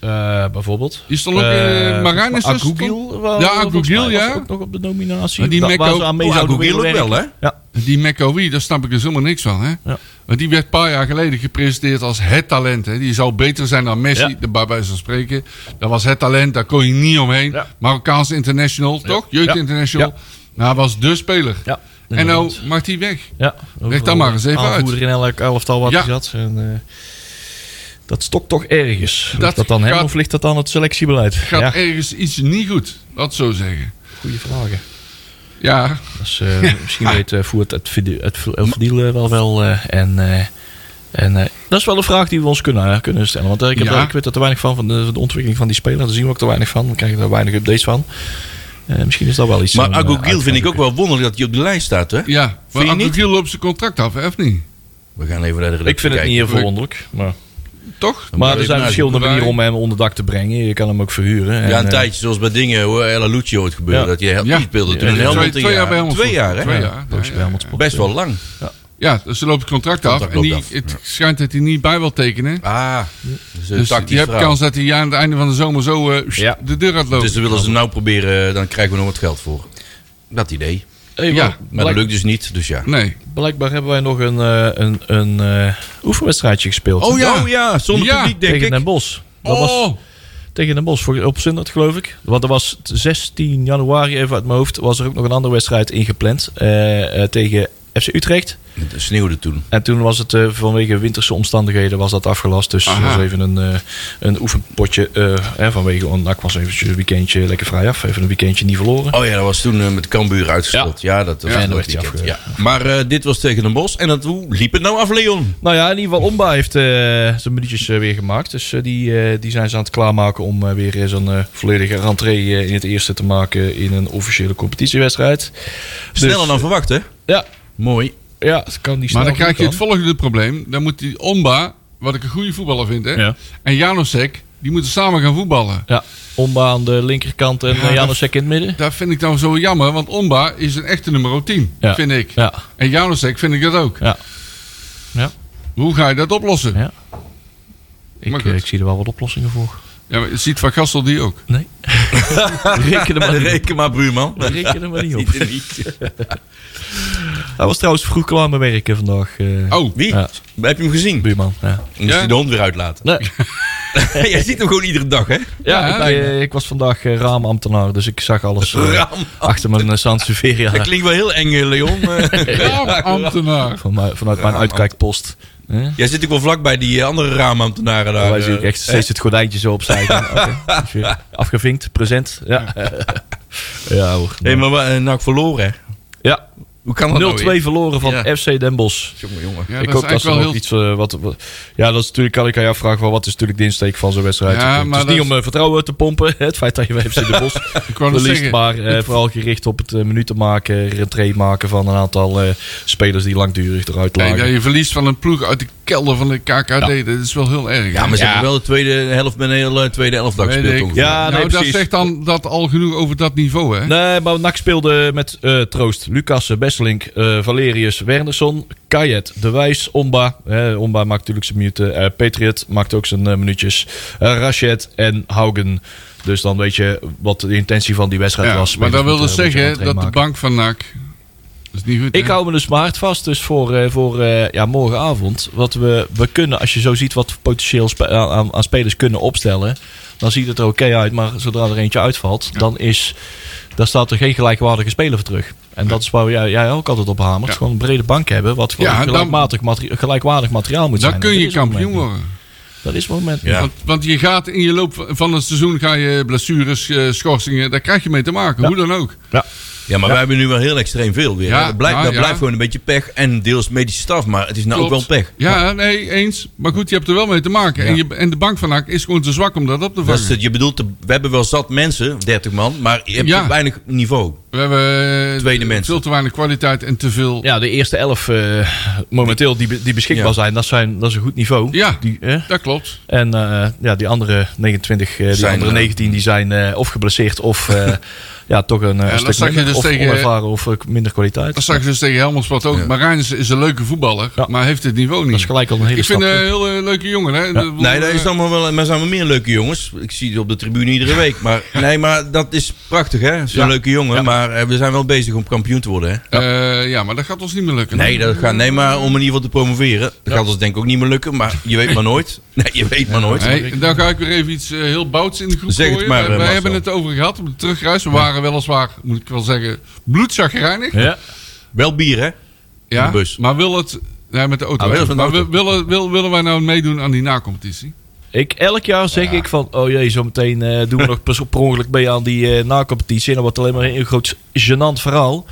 D: Eh, bijvoorbeeld.
C: Die stond ook, eh, Marijn is dus-
D: Agougil. wel-
C: Ja,
D: volgens
C: Agougil,
D: mij eh, was
C: ja.
D: ook nog op de nominatie.
C: Die
D: Daar-
C: Mekko-
D: waar ze aan mee
B: Oh,
D: zouden
B: Agougil ook
D: willen
B: wel, hè?
D: werken. Ja.
C: Die McAwee, daar snap ik dus helemaal niks van. Hè?
D: Ja.
C: Want die werd een paar jaar geleden gepresenteerd als het talent. Hè? Die zou beter zijn dan Messi,
D: Ja.
C: de bij wijze van spreken. Dat was het talent, daar kon je niet omheen.
D: Ja.
C: Marokkaans international, toch? Jeugd
D: Ja.
C: international.
D: Ja.
C: Nou, hij was de speler.
D: Ja,
C: en nou
D: inderdaad.
C: mag die weg.
D: Ja,
C: Leg daar maar eens even uit.
D: Aanvoerder in elk elftal wat
C: Ja.
D: hij zat. En, eh, dat stokt toch ergens. Ligt
C: Dat
D: dat, dan hem
C: gaat-
D: of ligt dat aan het selectiebeleid?
C: Gaat
D: ja,
C: ergens iets niet goed, dat zo zeggen.
D: goede vragen.
C: Ja,
D: Dus, eh, Misschien
B: Ah.
D: weet eh Voert het, vide- het, v- el verdiel eh, wel wel. eh, en eh, en eh, dat is wel een vraag die we ons kunnen, eh, kunnen stellen. Want eh, ik, heb,
C: Ja.
D: ik weet er te weinig van, van de, van de ontwikkeling van die speler. Daar zien we ook te weinig van. We krijgen daar weinig updates van. Eh, misschien is dat wel iets.
B: Maar
D: om, eh,
B: Agogiel
D: uit te
B: vind ik ook
D: zoeken.
B: wel wonderlijk dat hij op de lijst staat, hè?
C: ja.
B: je
C: Maar
B: niet?
C: Giel loopt zijn contract af, hè, of niet?
B: We gaan even naar de redactie
D: Ik vind het niet
B: kijken.
D: heel verwonderlijk. Maar,
C: Toch?
D: maar er zijn verschillende
C: wij-
D: manieren om hem onder dak te brengen. Je kan hem ook verhuren. En,
B: Ja, een
D: eh,
B: tijdje, zoals bij dingen, hoe El Alucci ooit gebeurde,
D: Ja.
B: dat hij helemaal
C: Ja.
B: niet speelde. Toen
D: Ja,
B: een
D: twee-
B: helemaal
C: twee jaar bij Helmond
B: Twee jaar,
C: Sport.
B: hè?
C: Twee jaar.
D: Ja, Boos
C: ja,
D: bij Helmond
C: ja.
D: Sport.
B: Best wel lang.
C: Ja, dus ze loopt het contract af.
B: Contract
C: En die,
B: loopt af,
C: het schijnt dat hij niet bij wil tekenen.
B: Ah, dus een
C: Dus je
B: tactisch
C: hebt
B: verhaal.
C: kans dat hij aan het einde van de zomer zo eh,
D: Ja.
C: de deur gaat lopen.
B: Dus dan willen ze nou proberen, dan krijgen we nog wat geld voor. Dat idee.
D: Hey,
C: Ja,
D: wel,
B: Maar dat
D: blijk-
B: lukt dus niet, dus ja.
C: Nee.
D: Blijkbaar hebben wij nog een, eh, een, een eh, oefenwedstrijdje gespeeld.
C: Oh ja.
B: zonder
C: Ja.
B: publiek denk
D: tegen Den
B: ik.
D: Bosch. Dat
C: Oh,
D: was tegen Den Bosch voor- op zondag geloof ik. Want dat was t- 16 januari, even uit mijn hoofd, was er ook nog een andere wedstrijd ingepland eh, eh, tegen FC Utrecht.
B: Het sneeuwde toen.
D: En toen was het eh, vanwege winterse omstandigheden was dat afgelast. Dus
C: Aha.
D: was even een, eh, een oefenpotje eh, hè, vanwege, want ik was eventjes een weekendje lekker vrij af. Even een weekendje niet verloren.
B: Oh ja, dat was toen eh, met Cambuur uitgespeeld. Ja. dat was
D: Ja,
B: een
D: dat
B: leuk
D: werd hij
B: weekend. Ja. Maar eh, dit was tegen Den Bosch. En dat, hoe liep het nou af, Leon?
D: Nou ja, in ieder geval Omba heeft eh, zijn minuutjes eh, weer gemaakt. Dus eh, die, eh, die zijn ze aan het klaarmaken om eh, weer eh, zo'n eh, volledige rentree eh, in het eerste te maken in een officiële competitiewedstrijd.
B: Sneller
D: Dus,
B: dan verwacht, hè?
D: Ja,
B: Mooi.
D: ja, het Dus kan die
C: maar
D: snel
C: dan krijg je
D: goed
C: het volgende probleem. Dan moet die Omba, wat ik een goede voetballer vind, hè,
D: Ja.
C: en Janosek, die moeten samen gaan voetballen.
D: gaan. Ja, Omba aan de linkerkant en
C: Ja,
D: ja, Janosek in het midden.
C: Dat vind ik nou zo jammer, want Omba is een echte nummer 10,
D: Ja.
C: vind ik.
D: Ja,
C: En Janosek vind ik dat ook.
D: ja.
C: Hoe ga je dat oplossen?
D: Ja.
C: Maar
D: Ik,
C: goed.
D: eh, ik zie er wel wat oplossingen voor.
C: Ja, maar ziet Van Gastel die ook.
D: Nee. Reken er maar niet op.
B: Reken maar, buurman.
D: Reken er maar niet op.
B: Niet.
D: Hij was trouwens vroeg klaar met werken vandaag. eh,
C: Oh,
B: Wie?
D: Ja.
B: Heb je hem gezien?
D: Buurman. Ja.
B: Moest
C: Ja.
B: hij de hond weer uitlaten?
D: Nee.
B: Jij ziet hem gewoon iedere dag, hè?
D: Ja,
C: Ja,
D: ik, eh, ik was vandaag eh, raamambtenaar, dus ik zag alles eh,
B: Raam.
D: achter mijn uh, Sansevieria
B: Dat klinkt wel heel eng, eh, Leon. Eh,
C: ambtenaar.
D: van, mij- vanuit mijn uitkijkpost. Eh?
B: Jij zit ook wel vlak bij die eh, andere raamambtenaren daar.
D: Wij
B: eh.
D: zien ik echt steeds het gordijntje zo opzij. Van, oké, is weer afgevinkt, present. Ja, ja hoor.
B: Hé, maar eh, nou, ik verloren, hè?
D: Ja,
B: Hoe kan
D: 0-2
B: dat nou weer?
D: verloren van
B: Ja.
D: FC Den Bosch.
B: Jongen, jongen.
C: Ja, dat
D: ik
C: is
D: hoop dat
C: eigenlijk
D: ze
C: wel
D: nog
C: heel...
D: iets... eh, wat, wat- ja, dat is natuurlijk, kan ik aan jou vragen, van, wat is natuurlijk de insteek van zo'n wedstrijd?
C: Ja,
D: het
C: maar
D: is niet
C: dat
D: om eh, vertrouwen te pompen, het feit dat je bij FC Den Bosch
C: Ik wou net
D: verliest,
C: zeggen,
D: maar eh, vooral gericht op het eh, minuten maken, rentree maken van een aantal eh, spelers die langdurig eruit
C: nee,
D: lagen.
C: dat je verliest van een ploeg uit de kelder van de KKD, dat is wel heel erg.
B: Ja,
C: hè?
B: maar ze hebben wel de tweede helft met een hele eh, tweede elftal
C: Weet
B: gespeeld.
C: ik.
B: ongeveer.
D: Ja, nee,
C: nou, dat
D: precies.
C: zegt dan dat al genoeg over dat niveau, hè?
D: Nee, maar NAC speelde met eh, Troost, Lucas, Besselink, eh, Valerius, Wernersson, Kajet, De Wijs, Omba. Eh, Omba maakt natuurlijk zijn minuten. eh, Patriot maakt ook zijn eh, minuutjes. Eh Rachet en Haugen. Dus dan weet je wat de intentie van die wedstrijd
C: Ja,
D: was.
C: maar dat wil
D: wilde
B: eh,
C: dus zeggen dat de bank van NAC... Dat is niet goed,
D: Ik
C: hè?
D: hou me dus maart vast dus voor, eh, voor eh, ja, morgenavond. Wat we, we kunnen, als je zo ziet wat we potentieel spe- aan- aan, aan spelers kunnen opstellen, dan ziet het er oké uit. Maar zodra er eentje uitvalt, dan is, daar staat er geen gelijkwaardige speler voor terug. En dat is waar jij, jij ook altijd op hamert. Gewoon een brede bank hebben, wat gewoon
C: Ja, dan-
D: gelijkmatig, materi- gelijkwaardig materiaal moet
C: Dan
D: zijn.
C: kun
D: Dat
C: je
D: is op het moment
C: kampioen
D: niet.
C: worden.
D: Dat is op het moment.
B: Ja.
D: niet.
C: Want, want je gaat in je loop van het seizoen ga je blessures, eh, schorsingen, daar krijg je mee te maken,
D: Ja.
C: hoe dan ook.
D: Ja.
B: Ja, maar wij hebben nu wel heel extreem veel weer.
C: Ja,
B: dat blijft,
C: nou,
B: dat
C: ja.
B: blijft gewoon een beetje pech. En deels medische staf, maar het is nou ook
C: Klopt.
B: wel pech.
C: Ja, nee, eens. Maar goed, je hebt er wel mee te maken. En, je, en de bank van Hak is gewoon te zwak om dat op te
B: Dat is
C: vangen.
B: het, je bedoelt, we hebben wel zat mensen, 30 man, maar je hebt
C: Ja.
B: weinig niveau.
C: We hebben eh,
B: Tweede mensen.
C: veel te weinig kwaliteit en te veel...
D: Ja, de eerste elf eh, momenteel die, be- die beschikbaar
B: Ja.
D: zijn dat, zijn, dat is een goed niveau.
C: Ja.
D: Die, eh,
C: Dat klopt.
D: En eh, ja, die andere 29, eh, die
B: Zijn,
D: andere
B: eh,
D: 19, die zijn eh, of geblesseerd of eh, ja, toch een eh,
C: dat
D: stuk
C: zag je
D: minder,
C: dus
D: of
C: tegen-
D: onervaren of eh, minder kwaliteit.
C: Dat zag ik dus tegen Helmond Sport ook. Marijnissen is een leuke voetballer,
D: Ja.
C: maar heeft het niveau
D: Dat is
C: niet.
D: gelijk al een hele
C: Ik
D: stap.
C: vind een heel eh, leuke jongen. Hè? De-
B: Nee, daar is
C: eh,
B: allemaal wel, maar zijn wel meer leuke jongens. Ik zie die op de tribune iedere week. Maar, nee, maar dat is prachtig, hè? Zo'n
C: Ja.
B: leuke jongen. Maar eh, we zijn wel bezig om kampioen te worden, hè?
C: eh, ja, maar dat gaat ons niet meer lukken.
B: Nee, dat gaat, nee, maar om in ieder geval te promoveren. Dat gaat ons denk ik ook niet meer lukken, maar je weet maar nooit. Nee, je weet maar nooit.
C: Hey, dan ga ik weer even iets eh, heel bouts in de groep
B: Zeg het
C: gooien.
B: maar, eh,
C: wij wij
B: Marcel.
C: hebben het over gehad op de terugreis. We waren weliswaar, moet ik wel zeggen, bloedzagrijnig.
D: Ja.
B: Wel bier, hè?
C: Ja,
B: de bus.
C: maar wil het... Nee, met de auto.
B: Ah, wil het met de
C: maar
B: auto.
C: wil- willen, wil- willen wij nou meedoen aan die nacompetitie?
D: Ik, elk jaar zeg ik van, oh jee, zometeen eh, doen we nog per, per ongeluk mee aan die eh, na-competitie. En dan wordt het alleen maar een heel groot gênant verhaal.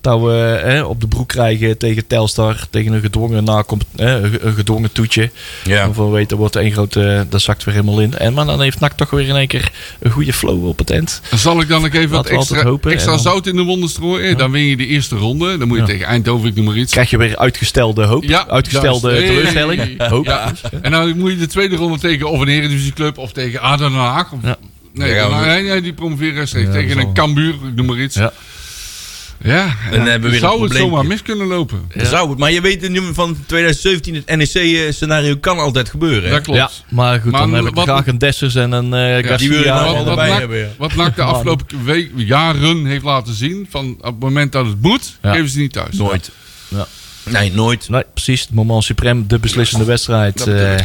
D: Dat we eh, op de broek krijgen tegen Telstar, tegen een gedwongen, na een gedwongen toetje.
B: Ja.
D: Waarvan we weten, dat wordt één groot, eh, dat zakt weer helemaal in. En, maar dan heeft NAC toch weer in één keer een goede flow op het eind.
C: Dan zal ik dan ook even wat
D: Laten we altijd
C: extra,
D: hopen en
C: extra
D: dan-
C: zout in de wonden strooien. Dan win je de eerste ronde. Dan moet je
D: Ja.
C: tegen Eindhoven, ik noem maar iets.
D: Krijg je weer uitgestelde hoop,
C: Ja,
D: uitgestelde
C: juist.
D: teleurstelling.
C: Hey.
D: Hoop.
C: Ja. En nou, dan moet je de tweede ronde tegen of een eredivisieclub of tegen Aden Haag. Of,
D: Ja.
C: nee,
B: Ja,
C: dan-
B: maar-
C: nee, nee, die promoveren rechtstreeks.
D: Ja,
C: tegen
D: dat is
C: een
D: wel-
C: Cambuur, ik noem maar iets. Ja,
D: Ja.
C: ja.
B: Dan hebben we weer
C: zou
B: een
C: het
B: probleempje.
C: zomaar mis kunnen lopen.
B: Zou het, maar je weet het nummer van 2017, het E NEC-scenario eh, kan altijd gebeuren. hè?
C: Dat klopt.
D: Ja, maar goed,
C: Maar
D: dan heb ik
C: wat-
D: graag een Dessers en een eh Garcia.
B: die wil je nog
D: en-
B: wel
C: Wat, wat,
B: erbij
C: NAC,
B: hebben, ja.
C: wat NAC de afgelopen week, jaren heeft laten zien, van op het moment dat het moet,
D: Ja.
C: geven ze niet thuis.
B: Nooit.
D: Ja.
B: Nee, nooit.
D: Nee, precies. Het moment suprem, de beslissende wedstrijd.
C: dat bedoel ik.
D: eh,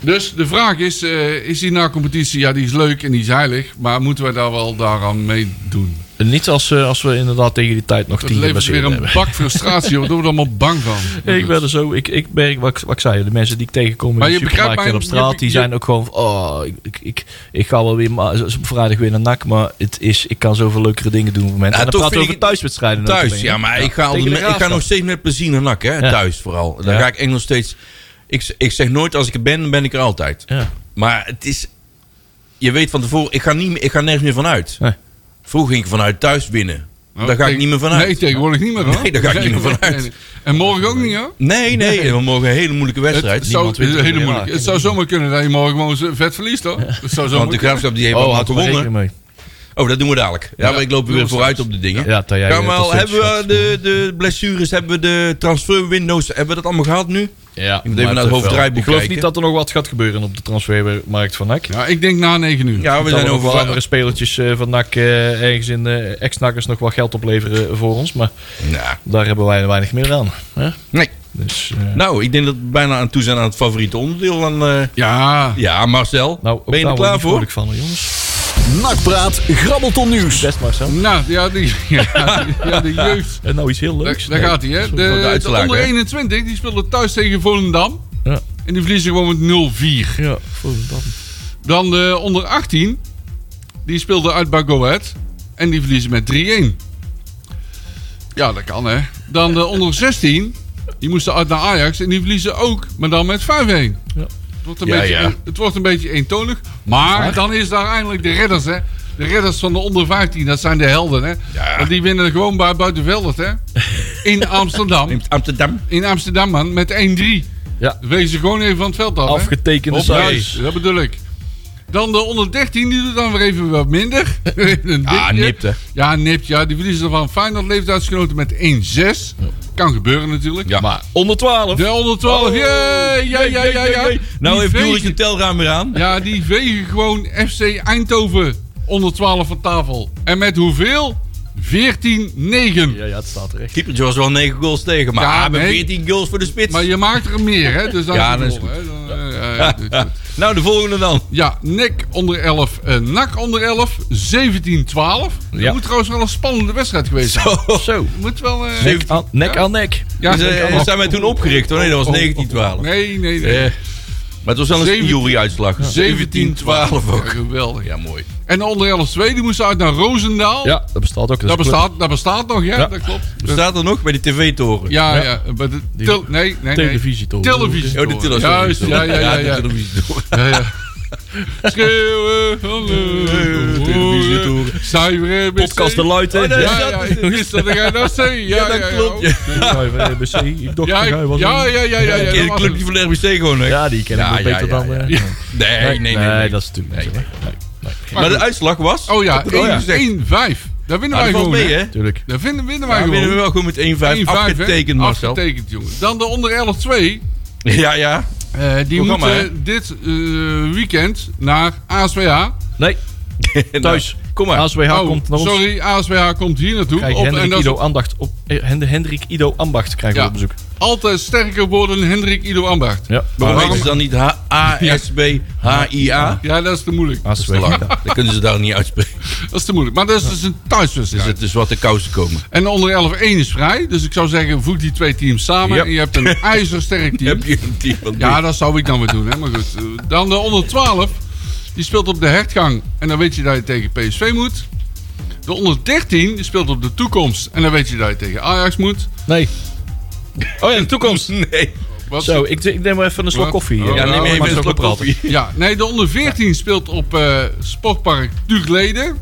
C: Dus de vraag is, eh, is die na-competitie, ja die is leuk en die is heilig, maar moeten wij daar wel daaraan meedoen?
D: niet als, eh, als we inderdaad tegen die tijd nog
C: Dat
D: tien
C: levert weer
D: geblesseerden
C: een
D: hebben.
C: bak frustratie, want daar worden we allemaal bang van.
D: Ik ben er zo, ik, ik merk wat, ik- wat ik zei, de mensen die ik tegenkom
C: Maar
D: in de
C: je begrijpt
D: supermarkt en op
C: mijn-
D: straat,
C: je-
D: die
C: je-
D: zijn ook gewoon van, oh, ik, ik, ik, ik ga wel weer ma- z- vrijdag weer naar NAC, maar het is, ik kan zoveel leukere dingen doen op het moment.
B: Ja,
D: en dan
B: toch
D: praten we
B: vind
D: over
B: ik-
D: thuiswedstrijden.
B: Thuis,
D: natuurlijk,
B: ja,
D: hè?
B: maar ik, ga
D: Tegen
B: altijd
D: de
B: met- ik ga
D: Graafschap.
B: nog steeds met plezier naar NAC, hè?
D: Ja.
B: Thuis vooral. Dan
D: Ja.
B: ga ik echt nog steeds... Ik, ik zeg nooit als ik er ben, ben ik er altijd.
D: Ja.
B: Maar het is... Je weet van tevoren, ik ga, niet, meer- ik ga nergens meer vanuit.
D: Nee.
B: Vroeger ging ik vanuit thuis winnen. Daar ga ik
C: Oh, tegen-
B: niet meer vanuit.
C: Nee, tegenwoordig niet meer hoor.
B: Nee, daar ga ik niet meer
C: Nee,
B: vanuit.
C: nee, nee. En morgen ook niet hoor.
B: Nee, nee, we mogen een hele moeilijke wedstrijd.
C: Het zou,
B: Niemand weet
C: het, is
B: het.
C: hele moeilijk.
D: Ja.
C: het zou zomaar kunnen dat je morgen gewoon zo vet verliest hoor. Het zou zomaar
B: Want de
C: kunnen.
B: graafschap die heeft
D: Oh,
B: allemaal
D: had
B: gewonnen.
D: gewonnen. Mee.
B: Oh, dat doen we dadelijk. Ja,
C: Ja,
B: maar ik loop
C: doen
B: weer
C: we
B: vooruit
C: straks.
B: op de dingen.
D: Ja, dat jij,
B: Ga
D: eh,
B: maar,
D: tot
B: al, hebben we
D: slotjes
B: de, de blessures, hebben we de transferwindows, hebben we dat allemaal gehad nu?
D: Ja,
B: moet even
D: maar
B: naar het
D: toch
B: hoofddraaiboek
D: wel. Ik geloof
B: kijken.
D: niet dat er nog wat gaat gebeuren op de transfermarkt van NAC.
C: Ja, ik denk na 9 uur.
B: Ja, we
D: Dan
B: zijn
D: nog
B: over
D: wel andere spelertjes eh, van NAC eh, ergens in eh ex-NACers nog wel geld opleveren voor ons. Maar
B: Nou,
D: daar hebben wij weinig meer aan. Hè?
B: nee.
D: Dus, eh,
B: nou, ik denk dat we bijna aan toe zijn aan het favoriete onderdeel. Aan, eh,
C: Ja,
B: ja, Marcel,
D: nou, ook
B: ben je
D: daar
B: er
D: word
B: klaar
D: ik
B: voor?
D: vrolijk van, hè, jongens.
A: Nakpraat, grabbelton nieuws.
D: Best maar zo.
C: nou, ja, die, ja, die- ja, de jeugd.
D: En nou iets heel
C: Daar,
D: leuks.
C: daar
D: Nee.
C: gaat hij, hè? De,
B: wel de
C: de
B: uitslag,
C: onder
B: hè?
C: 21 die speelde thuis tegen Volendam.
D: Ja.
C: En die verliezen gewoon met 0-4.
D: Ja, Volendam.
C: Dan de onder 18. Die speelde uit bij Go Ahead. En die verliezen met 3-1. Ja, dat kan hè. Dan de onder 16. Die moesten uit naar Ajax. En die verliezen ook. Maar dan met 5-1. Het wordt een
B: Ja,
C: beetje,
B: ja.
C: Het wordt een beetje eentonig. Maar dan is daar eindelijk de redders hè. De redders van de onder 15. Dat zijn de helden hè.
B: Ja.
C: Want die winnen gewoon bij Buitenveldert hè. In Amsterdam.
B: In Amsterdam.
C: In Amsterdam man. Met 1-3.
D: Ja.
C: Wees ze gewoon even van het veld af hè.
D: Afgetekende
C: Op
D: cijfers.
C: huis, dat bedoel ik. Dan de 113, die doet dan weer even wat minder. Een
B: Ah,
C: dipje.
B: nipt, hè?
C: Ja, nipt, ja. Die verliezen van Feyenoord leeftijdsgenoten met 1-6. Kan gebeuren natuurlijk.
B: Ja. Oh.
D: Maar onder 12.
C: De 112, jee, ja, ja, ja, ja.
B: Nou
C: Die
B: heeft Joris
C: vegen-
B: zijn telraam weer aan.
C: Ja, die vegen gewoon FC Eindhoven 112 van tafel. En met hoeveel? 14-9.
D: Ja, ja, het staat terecht.
B: Keepertje was wel 9 goals tegen, maar
C: Ja,
B: ah, met
C: nee.
B: 14 goals voor de spits.
C: Maar je maakt er meer, hè? Dus dat
B: Ja,
C: is,
B: dat is
C: het doel, hè. Dan, eh, ja,
B: Ja.
C: dit- dit.
B: Nou, de volgende dan.
C: Ja, nek onder 11, eh nak onder 11, 17-12. Dat
D: Ja.
C: moet trouwens wel een spannende wedstrijd geweest zijn.
D: Zo.
C: Moet wel... eh,
D: Nek aan nek. Aan nek.
C: ja, Oh,
B: Dus, eh,
C: nek aan-
B: Oh, zijn wij toen opgericht hoor? Nee, dat was 1912.
C: nee, nee, nee.
B: Eh, Maar het was wel een
C: Zeventien-
B: juryuitslag.
C: 17-12 ook.
B: ook.
C: geweldig.
B: Ja, mooi.
C: En onder 11 tweede moest uit naar Roosendaal.
D: Ja, dat bestaat ook.
C: Dat
D: is een
C: bestaat, dat bestaat nog, ja,
D: Ja.
C: dat klopt. Dat-
B: Staat er nog bij die tv-toren?
C: ja, ja. maar de tel- nee, nee, nee.
D: televisie toch?
C: Televisie.
B: Oh, de tele-
C: Juist,
B: sorry.
C: ja, ja, ja, ja.
B: de televisietoren.
C: Ja, ja. Schreeuwen, hallo.
B: Televisietoren.
C: Zuiveren, ABC.
D: Podcast de Luiten.
B: Oh, nee,
C: Ja, ja, is dat de RNC? Ja, ja,
B: dat
C: ja,
B: klopt,
C: Ja,
D: RBC. Dokter
C: ja,
D: Guy was
C: ja,
D: een-
C: ja, ja, ja, ja,
B: Ken je de
C: dat was
B: clubje van
C: het.
B: de RBC gewoon, hè?
D: Ja, die ken ik
B: Ja,
D: nog
B: ja,
D: beter
B: ja,
D: dan... eh,
B: ja. Nee, nee, nee. nee,
D: Nee, dat is natuurlijk niet zo,
B: Nee,
D: hè.
B: Maar de uitslag was?
C: Oh ja,
B: bedoel je?
C: 1-5. Daar winnen
B: Nou,
C: wij
B: dat valt
C: gewoon.
B: mee,
C: hè?
B: hè?
D: Tuurlijk.
C: Daar vinden, winnen wij
B: Ja,
C: gewoon.
B: winnen we wel gewoon met 1-5.
C: 1-5, hè?
B: Afgetekend, Marcel.
C: Afgetekend, jongen. Dan de onder 11 2.
B: Ja, ja.
C: Eh, die
B: Programma,
C: moeten dit eh, weekend naar ASWH.
D: Nee, thuis.
B: Nou, kom maar.
D: ASWH
C: Oh,
D: komt naar ons.
C: sorry, ASWH komt hier naartoe.
D: Krijg
C: Op- en
D: Hendrik
C: dat is
D: Ido Ambacht op... eh, Hend- Hendrik Ido Ambacht krijgen
C: Ja.
D: we op bezoek.
C: altijd sterker worden Hendrik Ido Ambacht.
D: Ja.
B: Waarom
C: Waarom-
B: heet ze dan niet H-A-S-B-H-I-A?
C: Ja, dat is te moeilijk.
D: ASWH.
B: Dat kunnen ze daar niet uitspreken.
C: Dat is te moeilijk. Maar dat is dus een
B: Dus
C: thuiswedstrijd.
B: het is wat de kousen komen.
C: En onder 11-1 is vrij. Dus ik zou zeggen, voeg die twee teams samen.
D: Ja.
C: En je hebt een ijzersterk team.
B: Heb je een team van
C: Ja, dat zou ik dan weer doen. Hè? Maar goed. eh, Dan de onder 12. Die speelt op de hertgang. En dan weet je dat je tegen PSV moet. De onder 13 die speelt op de toekomst. En dan weet je dat je tegen Ajax moet.
D: Nee. Oh ja, de toekomst.
B: Nee.
C: Wat?
D: Zo, ik, ik neem maar even een slok
C: Wat?
D: koffie.
C: Oh,
B: Ja, neem
C: maar
B: even een
D: zo
B: slok
D: gepraat.
B: koffie.
C: Ja, nee, de onder 14 speelt op eh, Sportpark Tugleden.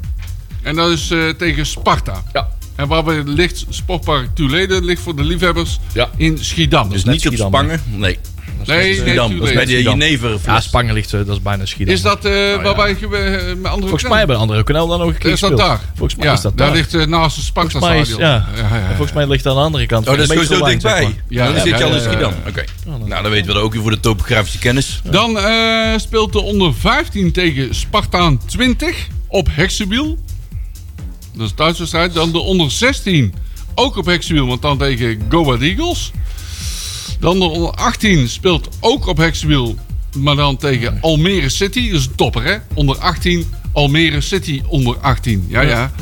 C: En dat is eh, tegen Sparta.
D: Ja.
C: En waarbij het ligt, Sportpark Tugleden, ligt voor de liefhebbers
D: Ja.
C: in Schiedam.
B: Dus
D: net
B: niet op
D: Schiedam, hè?
B: Spangen. Nee.
C: nee, nee,
B: Schiedam. Dat is bij de
C: Tugleden.
D: Schiedam.
B: Jenever.
D: Ja, Spangen ligt, eh, dat is bijna Schiedam.
C: Is dat eh, waarbij je eh, met andere
D: Nou
C: Eh,
D: Volgens mij hebben een andere kanaal dan ook een keer
C: Is dat
D: gespeeld.
C: daar?
D: Volgens mij
C: ja,
D: is dat
C: daar.
D: daar.
C: ligt eh, naast het Sparta
D: Volgens mij is-
C: stadion.
D: ja.
C: ja, ja.
D: Volgens mij ligt dat aan de andere kant.
B: Oh, dat is gewoon zo
D: Metrolijn,
B: dichtbij.
D: zeg maar.
C: Ja,
B: dan
C: ja,
B: zit je
C: ja,
B: al in
C: ja,
B: Schiedam. Oké. Nou, dan weten we dat ook weer voor de topografische kennis.
C: Dan eh, speelt de onder 15 tegen Spartaan 20 op Heksenwiel. Dat is een thuiswedstrijd. Dan de onder 16 ook op Heksenwiel, want dan tegen Go Ahead Eagles. Dan de onder 18 speelt ook op Heksenwiel, maar dan tegen Almere City. Dat is een topper, hè? Onder 18, Almere City onder 18. Ja, ja.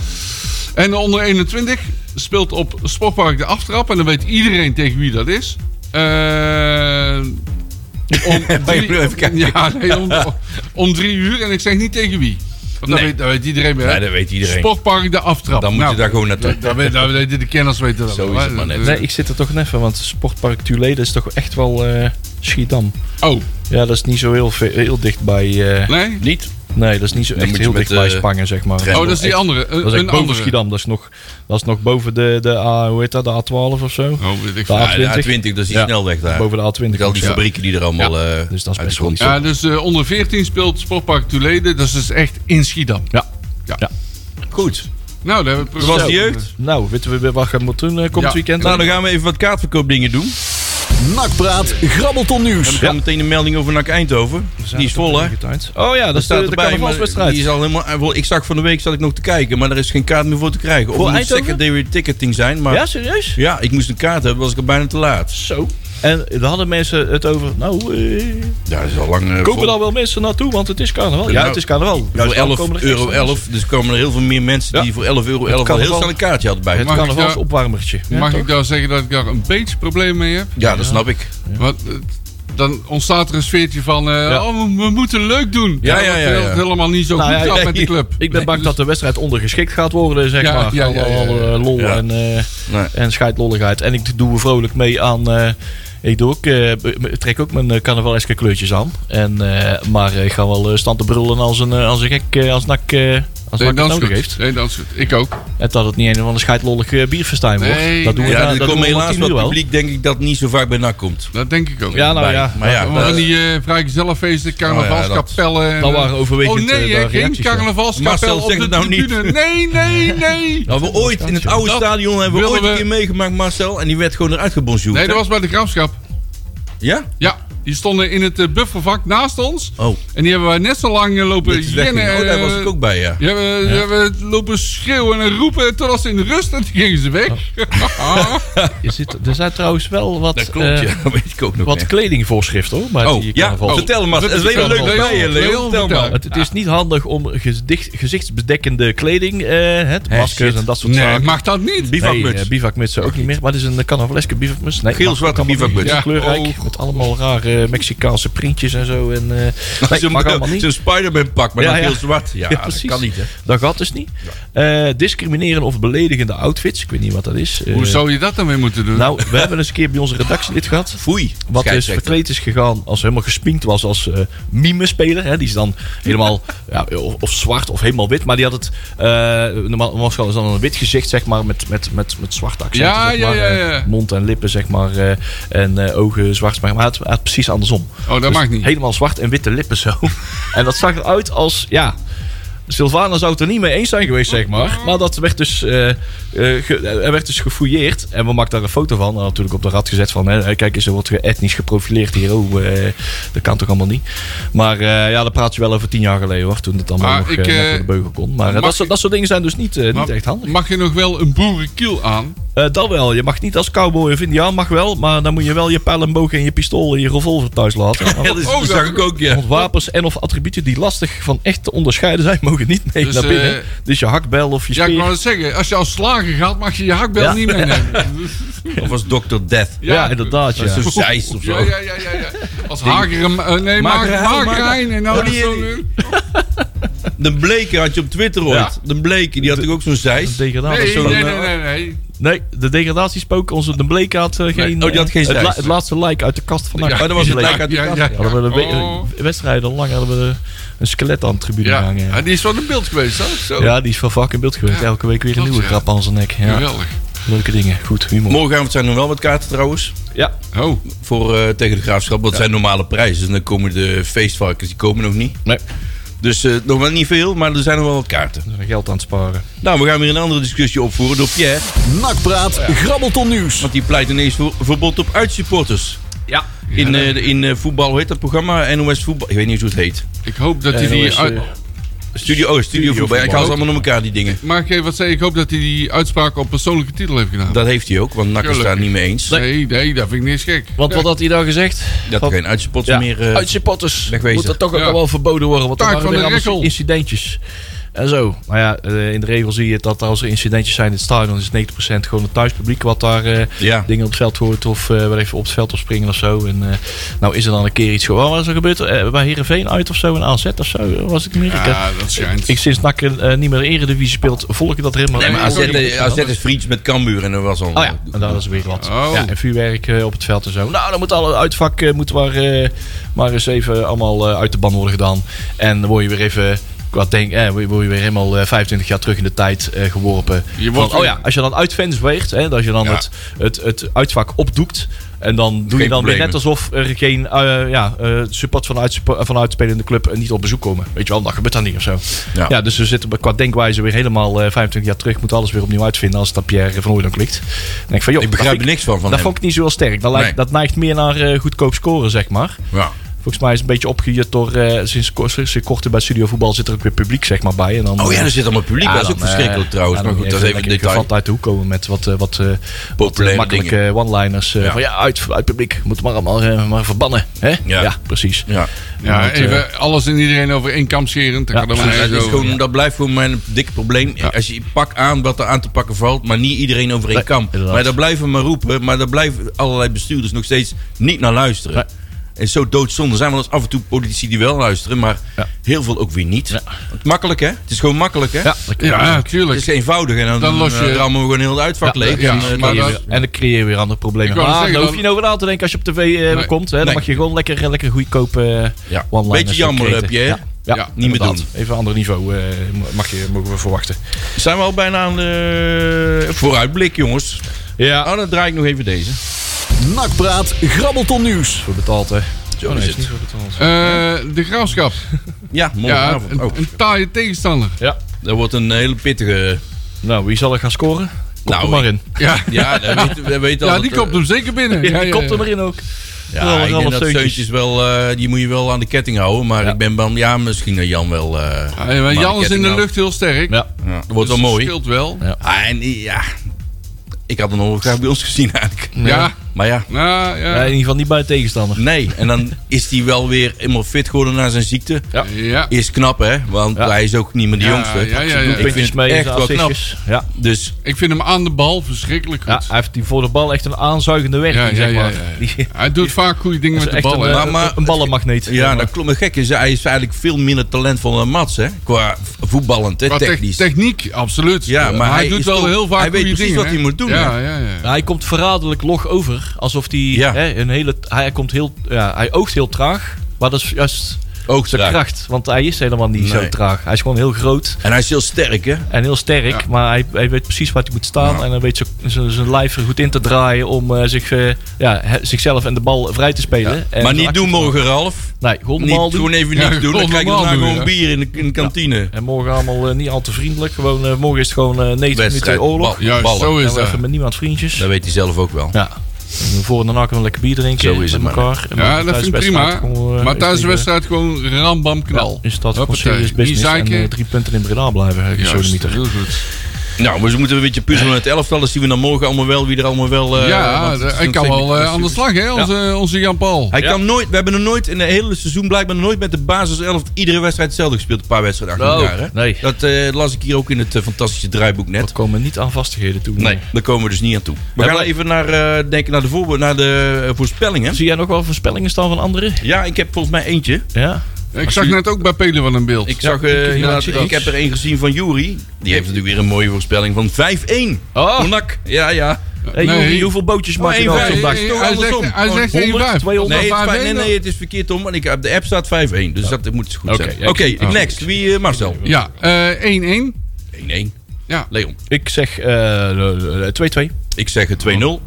C: En de onder 21 speelt op Sportpark de aftrap. En dan weet iedereen tegen wie dat is. Eh, om
B: je nu even kijken?
C: Ja, nee, om, om drie uur. En ik zeg niet tegen wie. Want dat,
B: Nee.
C: weet, dat weet iedereen weer. hè?
B: Nee, dat weet iedereen.
C: Sportpark de aftrap. Nou,
B: Dan moet
D: nou,
B: je daar gewoon naartoe.
C: Dat, dat, weet- dat weet- de kenners weten dat
B: Zo
C: wel,
B: is
C: hè?
B: het maar net.
D: Nee, ik zit er toch net van, want Sportpark Tuleden is toch echt wel eh, Schiedam.
C: Oh,
D: Ja, dat is niet zo heel, ve- heel dicht bij... eh,
C: nee?
B: Niet?
D: nee, dat is niet zo
B: Dan
D: echt
B: moet je
D: heel
B: met,
D: dicht bij
B: eh,
D: Spangen, zeg maar.
B: tram.
C: Oh, dat is die
D: Echt-
C: andere. Een,
D: Dat is echt
C: een
D: boven
C: andere.
D: Schiedam. Dat is nog, dat is nog boven de, de, A, hoe heet dat, de A12 of zo.
C: Oh, weet ik
D: Ja.
C: veel.
B: Ja, de A20, dat is die
D: Ja.
B: snelweg daar.
D: Boven de A20.
B: Met al die
D: Ja.
B: fabrieken die er allemaal eh,
D: Dus dat
B: uit
D: is
B: de
D: best
B: grond
D: wel
C: Ja, dus eh, onder 14 speelt Sportpark Toulede. Dat is dus echt in Schiedam.
D: Ja.
B: Goed.
C: Nou, daar hebben we
B: Dat was de
C: precies-
B: jeugd.
D: Nou, weten we weer wat we moeten doen eh, komend
C: Ja.
D: weekend?
B: Nou, dan gaan we even wat kaartverkoopdingen doen.
A: Nakpraat, grabbelton
B: En
A: nieuws.
B: dan kwam meteen een melding over NAC Eindhoven. Die is vol, hè?
D: Oh ja, dat is de, de
B: maar
D: carnavalswedstrijd.
B: die is al helemaal, eh, wel, ik zag van de week zat ik nog te kijken, maar er is geen kaart meer voor te krijgen. Of
D: Voor
B: het moet
D: Eindhoven?
B: secondary ticketing zijn, maar
D: Ja,
B: ja?
D: serieus?
B: ik moest een kaart hebben, was ik al bijna te laat.
D: Zo. En daar hadden mensen het over, nou, eh,
B: Ja, dat is al lang. eh, vol.
D: kopen daar wel mensen naartoe, want het is carnaval. Ja,
B: nou,
D: het is carnaval.
B: Voor
D: Juist, dan
B: 11
D: komen er
B: euro
D: extra
B: 11, dus komen er heel veel meer mensen
D: Ja.
B: die voor 11 euro 11 al
D: kan
B: heel
D: wel.
B: snel een kaartje hadden bij.
C: Mag
D: mensen. Het
C: ik daar-
D: carnavalsopwarmertje.
B: eh,
D: Ja,
C: Mag
D: toch?
C: ik daar zeggen dat ik daar een beetje probleem mee heb?
B: Ja, dat snap ik.
C: Want het- dan ontstaat er een sfeertje van... eh,
D: Ja.
C: Oh, we, we moeten leuk doen.
B: Ja, ja, ja,
C: terwijl
B: ja.
C: Het helemaal niet zo
D: Nou,
C: goed
D: ja,
C: gaat
D: ja,
C: met die club.
D: Ik ben bang dat de wedstrijd ondergeschikt gaat worden, zeg
C: Ja,
D: maar.
C: ja,
D: Ja,
C: ja, ja, ja.
D: lol
B: Ja.
D: en, eh
B: Nee.
D: en scheidlolligheid. En ik doe vrolijk mee aan... eh, ik doe ook, eh, b- b- trek ook mijn eh, carnavaleske kleurtjes aan. En, eh, maar ik ga wel eh, staan te brullen als een, eh, als een gek, eh, als nak, eh als
C: Nee,
D: nak
C: dat
D: het
C: is
D: nodig
C: goed.
D: heeft.
C: Nee, dat is goed. Ik ook.
D: En dat het niet een of ander scheidlollig eh, bierfestijn wordt.
C: Nee,
D: dat doen we,
C: nee.
B: Ja,
D: na-
B: er
D: dat doen
B: komt
D: we om
B: helaas
D: 10
B: wat
D: uur wel.
B: publiek, denk ik, dat niet zo vaak bij NAC komt.
C: Dat denk ik ook.
D: Ja, nou
B: bij.
D: ja.
B: Maar ja,
C: Allemaal
B: dat-
C: van die eh vrijgezellenfeesten, carnavalskapellen. en,
D: dat
C: eh,
D: waren overwegend,
C: Oh nee,
D: eh,
C: hè,
D: de
C: geen
D: reacties, ja.
C: carnavalskapel
B: Marcel,
C: op
B: zeg
C: de
B: het nou niet.
C: tribune. Nee, nee, nee.
B: Nou, we ooit in het oude
C: Dat
B: stadion hebben we
C: willen
B: ooit een
C: we-
B: keer meegemaakt, Marcel. En die werd gewoon eruit gebonjourd.
C: Nee,
B: hè?
C: dat was bij de graafschap.
B: Ja?
C: Ja, die stonden in het eh, buffervak naast ons.
B: Oh,
C: En die hebben wij net zo lang eh, lopen
B: dit is weg.
C: jennen.
B: Oh, daar
C: eh,
B: was ik ook bij, ja.
C: Die hebben, die hebben lopen schreeuwen en roepen totdat ze in de rust en toen gingen ze weg.
D: Er, zit, er zijn trouwens wel wat,
B: Dat klopt,
D: eh,
B: ja. Dat weet ik ook nog.
D: wat
B: hè.
D: kledingvoorschriften hoor. bij
B: Oh,
D: die
B: ja.
D: carnaval-
B: Oh, vertel maar.
C: dat
B: Het
C: is
B: is helemaal leuk
C: vertel
B: bij je,
C: maar.
B: Leon.
C: Leon,
B: Vertel
C: vertel.
B: maar.
D: Het, het is niet handig om gezicht, gezichtsbedekkende kleding, eh, het, maskers
B: shit.
D: en dat soort
C: nee,
D: zaken.
C: mag dat niet?
D: Nee,
B: Bivakmuts.
D: eh, bivakmutsen ook niet meer. Maar het is een carnavaleske bivakmuts. Nee,
B: Geel-zwarte
D: mag ook allemaal niet.
B: bivakmuts.
D: Ja. Kleurrijk,
C: Oh.
D: met allemaal rare eh, Mexicaanse printjes en zo. En, eh, nee,
B: Zo'n
D: mag allemaal niet.
B: zo'n Spider-Man pak, maar
D: Ja,
B: dan
D: ja.
B: heel zwart. Ja,
D: Ja,
B: dat
D: precies.
B: kan niet, hè.
D: Dat gaat dus niet. Eh, discriminerende of beledigende outfits. Ik weet niet wat dat is. Eh,
C: Hoe zou je dat dan weer moeten doen?
D: Nou, we hebben eens een keer bij onze redactielid gehad.
B: Foei.
D: Wat dus
B: scheidsrechter.
D: verkleed is gegaan als helemaal gespinkt was als eh mime-speler. Hè? Die is dan helemaal ja, of, of zwart of helemaal wit. Maar die had het, eh, normaal normaal gesproken is dan een wit gezicht, zeg maar, met, met, met, met zwarte accenten.
C: Ja,
D: zeg
C: ja,
D: maar,
C: ja,
D: eh,
C: ja.
D: mond en lippen, zeg maar, eh, en eh, ogen zwart. Maar hij had, hij had precies andersom.
C: Oh, dat
D: Dus
C: mag niet.
D: Helemaal zwart en witte lippen zo. en dat zag eruit als, ja... Sylvana zou het er niet mee eens zijn geweest, zeg maar. Maar dat werd dus, eh, eh, ge- er werd dus gefouilleerd. En we maakten daar een foto van. En natuurlijk op de rad gezet van... Hè, eh, kijk eens, er wordt ge- etnisch geprofileerd hier. Oh, eh, dat kan toch allemaal niet. Maar eh, ja, dan praat je wel over tien jaar geleden, hoor. Toen het allemaal
C: Maar
D: nog
C: ik,
D: eh, net
C: eh,
D: door de beugel kon. Maar eh,
C: mag
D: dat, soort-
C: ik-
D: dat soort dingen zijn dus niet, eh,
C: Maar
D: niet echt handig.
C: Mag je nog wel een boerenkiel aan?
D: Eh, dat wel. Je mag niet als cowboy of indiaan. Mag wel, maar dan moet je wel je pijl en boog en je pistool en je revolver thuis laten.
B: Ja, dat is-
C: Oh,
B: dat
C: dat-
B: zag ik ook, ja.
D: Want wapens en of attributen die lastig van echt te onderscheiden zijn, mogen niet mee
C: Dus,
D: naar binnen.
C: eh,
D: dus je hakbel of je
C: Ja,
D: speer.
C: ik wou het zeggen. Als je als slager gaat, mag je je hakbel
D: Ja.
C: niet meenemen.
B: Of als Dr. Death.
D: Ja, inderdaad. Ja.
B: Dat is zo'n zeist of zo.
C: Ja, ja, ja, ja. ja. Als hager... eh, nee,
B: Magerijn,
C: magerijn. En nou
B: Oh,
C: dat
B: die-
C: zo...
B: De Bleken had je op Twitter ooit. De Bleken, die had toch ook zo'n
D: De
B: zeist?
D: degradatie
C: Nee,
D: spook-
C: nee, nee, nee, nee.
D: Nee, de degradatiespook, onze de Bleek had eh, geen.
B: oh, die had geen
D: het,
B: zeist.
D: la- het laatste like uit de kast van
B: Ja, oh, dat was het lijk uit die
C: Ja,
B: kast.
C: ja.
D: Hadden we een we-
C: Oh.
D: een wedstrijd al lang hadden we een- een skelet aan de tribune
C: Ja,
D: hangen.
C: Ah,
D: Ja.
C: die is wel in beeld geweest, hè? Zo.
D: Ja, die is van vak in beeld geweest.
C: Ja,
D: Elke week weer een
C: klopt,
D: nieuwe
C: ja.
D: grap aan zijn nek. Ja.
C: Geweldig.
D: Leuke dingen. Goed, humor.
B: Morgenavond zijn er wel wat kaarten trouwens.
D: ja,
C: Oh,
B: Voor eh, tegen de graafschap. Dat zijn normale prijzen. En dan komen de feestvarkens, die komen nog niet.
D: nee,
B: Dus eh, nog wel niet veel, maar er zijn nog wel wat kaarten.
D: we zijn geld aan het sparen.
B: Nou, we gaan weer een andere discussie opvoeren door Pierre.
A: Nakpraat, grabbelton nieuws.
B: Want die pleit ineens voor verbod op uitsupporters.
D: Ja.
B: In, eh, de- in eh, voetbal, hoe heet dat programma? NOS Voetbal. Ik weet niet eens hoe het heet.
C: ik hoop dat hij
D: Eh,
C: die...
D: NOS,
C: Uit...
D: eh,
B: Studio, oh, studio voetbal. Ja, Ik haal ze allemaal door elkaar, die dingen.
C: Mag ik even wat zeggen? Ik hoop dat hij die uitspraak op persoonlijke titel heeft gedaan.
B: Dat heeft hij ook, want NAC is
C: Tuurlijk.
B: daar niet mee eens.
C: Nee, nee, dat vind ik niks gek.
D: Want wat had hij dan gezegd?
B: Dat er
D: Van-
B: geen uitsupporters
D: ja,
B: meer... eh,
D: uit zijn potters.
B: wegwezen.
D: Moet dat toch ook
C: Ja.
D: al wel verboden worden, want er
C: Taak
D: waren
C: van
D: weer
C: de
D: allemaal
C: Rekkel.
D: incidentjes. En zo. Maar ja, eh, in de regel zie je dat als er incidentjes zijn in het stadion, is 90% gewoon het thuispubliek wat daar eh,
B: Ja.
D: dingen op het veld hoort of eh, wel even op het veld op springen of zo. En eh, nou is er dan een keer iets gewoon. Wat is er gebeurd? Eh, bij Herenveen uit of zo, een AZ of zo, was ik in Amerika.
C: Ja, dat schijnt.
D: Ik sinds NAC eh, niet meer Eredivisie speelt, volg ik dat helemaal.
B: Nee, maar AZ,
D: Helemaal niet
B: eh,
D: meer.
B: AZ is vriends met Cambuur en dat was al...
D: Oh ja, en daar is weer wat.
C: Oh.
D: Ja, en vuurwerk eh, op het veld en zo. Nou, dan moet alle uitvak eh, moet maar, eh, maar eens even allemaal eh, uit de ban worden gedaan. En dan word je weer even. Qua denk, eh, word je word je weer helemaal eh, 25 jaar terug in de tijd eh, geworpen.
C: Je
D: Van,
C: wordt
D: oh
C: weer-
D: ja, als je dan uitfans weegt, hè, dat als je dan
B: Ja.
D: het, het, het uitvak opdoekt. En dan doe je dan weer
B: problemen.
D: net alsof er geen eh, ja, eh, support vanuit, van uitspelende club eh, niet op bezoek komen. Weet je wel, dat gebeurt dan niet of zo.
B: Ja.
D: Ja, dus we zitten qua denkwijze weer helemaal eh, 25 jaar terug. Moeten alles weer opnieuw uitvinden als dat Pierre van Hooydonk ligt. Dan denk ik van, joh,
B: Ik begrijp
D: dat
B: er
D: vind
B: niks van van
D: dat
B: hem.
D: vond ik niet zo heel sterk. Dat, lijkt,
B: Nee.
D: dat neigt meer naar eh, goedkoop scoren, zeg maar.
B: Ja.
D: Volgens mij is het een beetje opgejut door... eh, sinds, ko- sinds korter bij Studio Voetbal zit er ook weer publiek, zeg maar, bij. En dan,
B: Oh ja,
D: eh,
B: er zit allemaal publiek.
D: ja,
B: dat is ook
D: dan, eh,
B: verschrikkelijk trouwens.
D: ja,
B: Maar
D: dan
B: goed, dat is even een
D: lekker
B: detail.
D: gevat uit de hoek komen met wat, eh, wat, eh, wat eh,
B: Populaire
D: makkelijke one-liners. eh,
B: Ja.
D: Van ja, uit, uit publiek. Moet maar allemaal eh, maar verbannen. Hè?
B: Ja.
D: precies.
B: Ja.
C: Ja,
D: Want, eh,
C: even alles en iedereen over één kam scheren. Dat,
D: Ja,
C: kan er maar
B: Ja, dat,
C: nergens
B: Dus is
C: over.
B: gewoon, dat blijft gewoon mijn dikke probleem. Als je pak aan wat er aan te pakken valt, maar niet iedereen over één
D: Nee,
B: kam.
D: inderdaad.
B: Maar daar blijven we maar roepen. Maar daar blijven allerlei bestuurders nog steeds niet naar luisteren.
D: Nee.
B: En zo doodzonde zijn wel eens af en toe politici die wel luisteren, maar
D: Ja.
B: heel veel ook weer niet. Want Makkelijk hè? Het is gewoon makkelijk hè?
D: Ja, dat kan.
C: Ja,
B: Het
C: tuurlijk.
B: is eenvoudig en dan,
C: Dan los je-
B: eh, rammen we gewoon heel het uitvak
D: Ja,
B: leeg.
C: ja,
B: en, eh,
C: maar
B: dan-
C: dat-
D: Ja, En dan creëer je weer andere problemen.
C: Ik wou
D: Maar
C: zeggen,
D: daar
C: dan-
D: hoef je niet over na te denken als je op tv eh,
C: Nee.
D: komt. Hè? Dan
B: Nee.
D: mag je gewoon lekker, lekker goedkope eh
B: Ja.
D: one-liners.
B: Beetje jammer,
D: creëren.
B: hè, Pierre?
D: Ja. Ja,
C: Ja, niet
B: meer
D: inderdaad.
B: doen.
D: Even een ander niveau eh, mag je, mogen we verwachten.
B: Zijn we al bijna aan
C: Eh,
B: de eh, vooruitblik jongens?
D: Ja.
C: ah,
B: Oh, dan draai ik nog even deze.
A: Nakpraat, grabbelton nieuws.
D: Voor betaald, hè?
B: Zo is het.
C: Eh, de graafschap.
B: Ja,
C: Ja,
B: morgenavond.
C: een,
B: Oh,
C: een taaie tegenstander.
D: Ja.
B: dat wordt een hele pittige...
D: Nou, wie zal er gaan scoren? Komt
B: Nou,
D: er maar in.
C: Ja,
B: Ja, dat weet, dat eh, weet
C: ja die komt hem zeker binnen. Ja, ja,
D: Komt er
C: ja.
D: maar in ook.
B: Ja, ik denk dat
D: Steuntjes.
B: Steuntjes wel, eh, die moet je wel aan de ketting houden. Maar
D: Ja.
B: ik ben bang, ja, misschien dat Jan wel. eh,
C: Ah, Ja, ja, maar
B: aan de
C: Jan is in
B: ketting
C: de
B: houdt.
C: lucht heel sterk.
D: Ja.
B: nou- Ja, dat wordt wel
C: Dus dat
B: mooi.
C: scheelt wel.
D: Ja.
B: Ah, en ja, ik had hem nog wel graag bij ons gezien eigenlijk.
C: Ja.
B: Maar Maar ja,
C: Nou,
D: Ja, in
C: ja.
D: ieder geval niet bij de tegenstander.
B: nee. En dan is hij wel weer helemaal fit geworden na zijn ziekte.
D: Ja.
C: Ja.
B: Is knap, hè? Want
D: Ja.
B: hij is ook niet meer de
C: Ja,
B: jongste.
C: ja, ja, ja.
B: Ik vind
D: Puntjes
B: het
D: mee,
B: echt
D: zijn
B: wel knap.
D: assistjes. Ja.
B: Dus
C: Ik vind hem aan de bal verschrikkelijk
D: ja,
C: goed.
D: hij heeft die voor de bal echt een aanzuigende werking,
C: Ja, ja,
D: zeg
C: ja,
D: maar.
C: ja, ja.
D: Die-
C: Hij doet vaak goede dingen
D: dat
C: met
D: is
C: de
D: echt
C: bal. hè.
D: een,
B: Maar-
D: eh,
B: maar-
D: een ballenmagneet.
B: ja, nou- dat klopt. Maar gek is, hij is eigenlijk veel minder talentvol dan Mats, hè? Qua voetballend, hè?
C: Qua tech-
B: Technisch.
C: techniek, absoluut.
B: Ja, maar hij
C: doet
B: is
C: wel
B: toch-
C: heel vaak
B: hij weet
C: goede
B: precies
C: dingen,
B: wat
C: hè.
B: hij moet doen,
C: Ja, ja, ja.
D: Ja, hij komt verraderlijk log over. Alsof hij,
B: Ja.
D: hè, een hele, hij, komt heel, ja, hij oogt heel traag. Maar dat is juist
B: Ook
D: zijn
B: traag.
D: kracht. Want hij is helemaal niet zo
B: Nee.
D: traag. Hij is gewoon heel groot
B: En hij is heel sterk, hè?
D: en heel sterk. Maar hij, hij weet precies waar hij moet staan. En hij weet zijn- zijn- zijn lijf er goed in te draaien. Om eh, zich, eh, ja, he- zichzelf en de bal vrij te spelen. En
B: maar
D: zo
B: niet
D: actie
B: doen
D: te maken.
B: morgen, Ralf.
D: Nee, gewoon
B: Niet,
D: normaal doen.
B: gewoon even
C: Ja,
B: niks doen. Dan
C: gewoon
B: krijg je
C: normaal
B: daarna
C: doen,
B: gewoon
C: ja.
B: bier in de, in de kantine.
D: En morgen allemaal eh, niet al te vriendelijk. Gewoon, eh, morgen is het gewoon eh, 90
B: Wedstrijd.
D: minuten oorlog.
B: Bal-
C: Juist,
B: ballen.
C: zo
D: En
C: is eh, dat.
D: we Nou, even met niemand vriendjes.
B: Dat weet hij zelf ook wel.
D: Ja. En voor en daarna kunnen we lekker bier drinken
B: Zo is het
D: met
B: maar.
D: elkaar. En
C: Ja,
D: dan
C: dat vind ik prima.
D: thuiswedstrijd gewoon, eh,
C: Maar
D: is
C: thuis
D: die,
C: de
D: eh,
C: wedstrijd gewoon rambam knal.
D: Is dat gewoon
C: Hoppatee.
D: serious
C: Niet
D: business en
C: zeiken.
D: eh, drie punten in Breda blijven, eh,
C: Juist,
D: gesodemieter.
C: heel goed.
B: Nou, maar ze moeten een beetje puzzelen met het elftal. Dan zien we dan morgen allemaal wel wie er allemaal wel... eh,
C: ja,
B: want het is
C: ik kan
B: ontzettend-
C: wel eh, aan de slag, hè, onze, onze Jan-Paul.
B: Hij
D: Ja.
B: kan nooit, we hebben er nooit in het hele seizoen blijkbaar nooit met de basiself iedere wedstrijd hetzelfde gespeeld. Een paar wedstrijden achter
D: Oh,
B: elkaar. Hè?
D: nee.
B: Dat eh, las ik hier ook in het eh, fantastische draaiboek net.
D: We komen niet aan vastigheden toe.
B: Nee, daar komen we dus niet aan toe. We
D: Ja,
B: gaan
D: maar-
B: even naar, eh, denken naar de, voorbe- naar de eh, voorspellingen.
D: Zie jij nog wel voorspellingen staan van anderen?
B: Ja, ik heb volgens mij eentje.
D: Ja.
C: Ik zag
B: je-
C: net ook bij Pelen van een beeld.
B: Ik, zag,
D: ik-
B: eh,
D: ik-
B: inderdaad,
D: ik-
B: ik, heb er één gezien van Jury. Die heeft natuurlijk weer een mooie voorspelling van 5-1.
D: Oh.
B: Monak. Ja, ja.
D: Hey,
C: Nee.
D: Joeri, hoeveel bootjes maak
B: Oh,
D: je
B: één
D: nou
B: vijf.
D: vandaag?
B: is toch
C: hij
B: andersom.
C: zegt, hij zegt
D: 100,
C: 1,5.
D: 200,
B: Nee, het is
C: Maar
B: vijf- nee,
C: 5-1 dan?
B: nee, het is verkeerd om. Want ik, op de app staat 5-1. Dus dat moet goed
D: Oké,
B: zijn.
D: ja,
B: Oké,
D: ik-
C: oh.
B: next. Wie, eh, Marcel?
C: Ja, eh, 1-1.
B: 1-1.
C: Ja.
B: Leon.
D: Ik zeg eh, eh, 2-2.
B: Ik zeg het 2-0.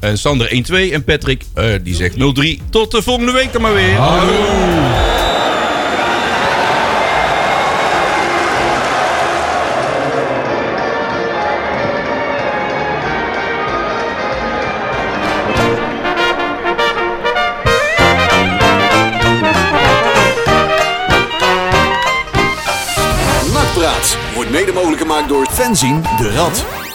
B: En Sander 1-2. En Patrick, eh, die zegt 0-3. Tot de volgende week dan maar weer.
A: Nakpraat wordt mede mogelijk gemaakt door Fenzin de Rad.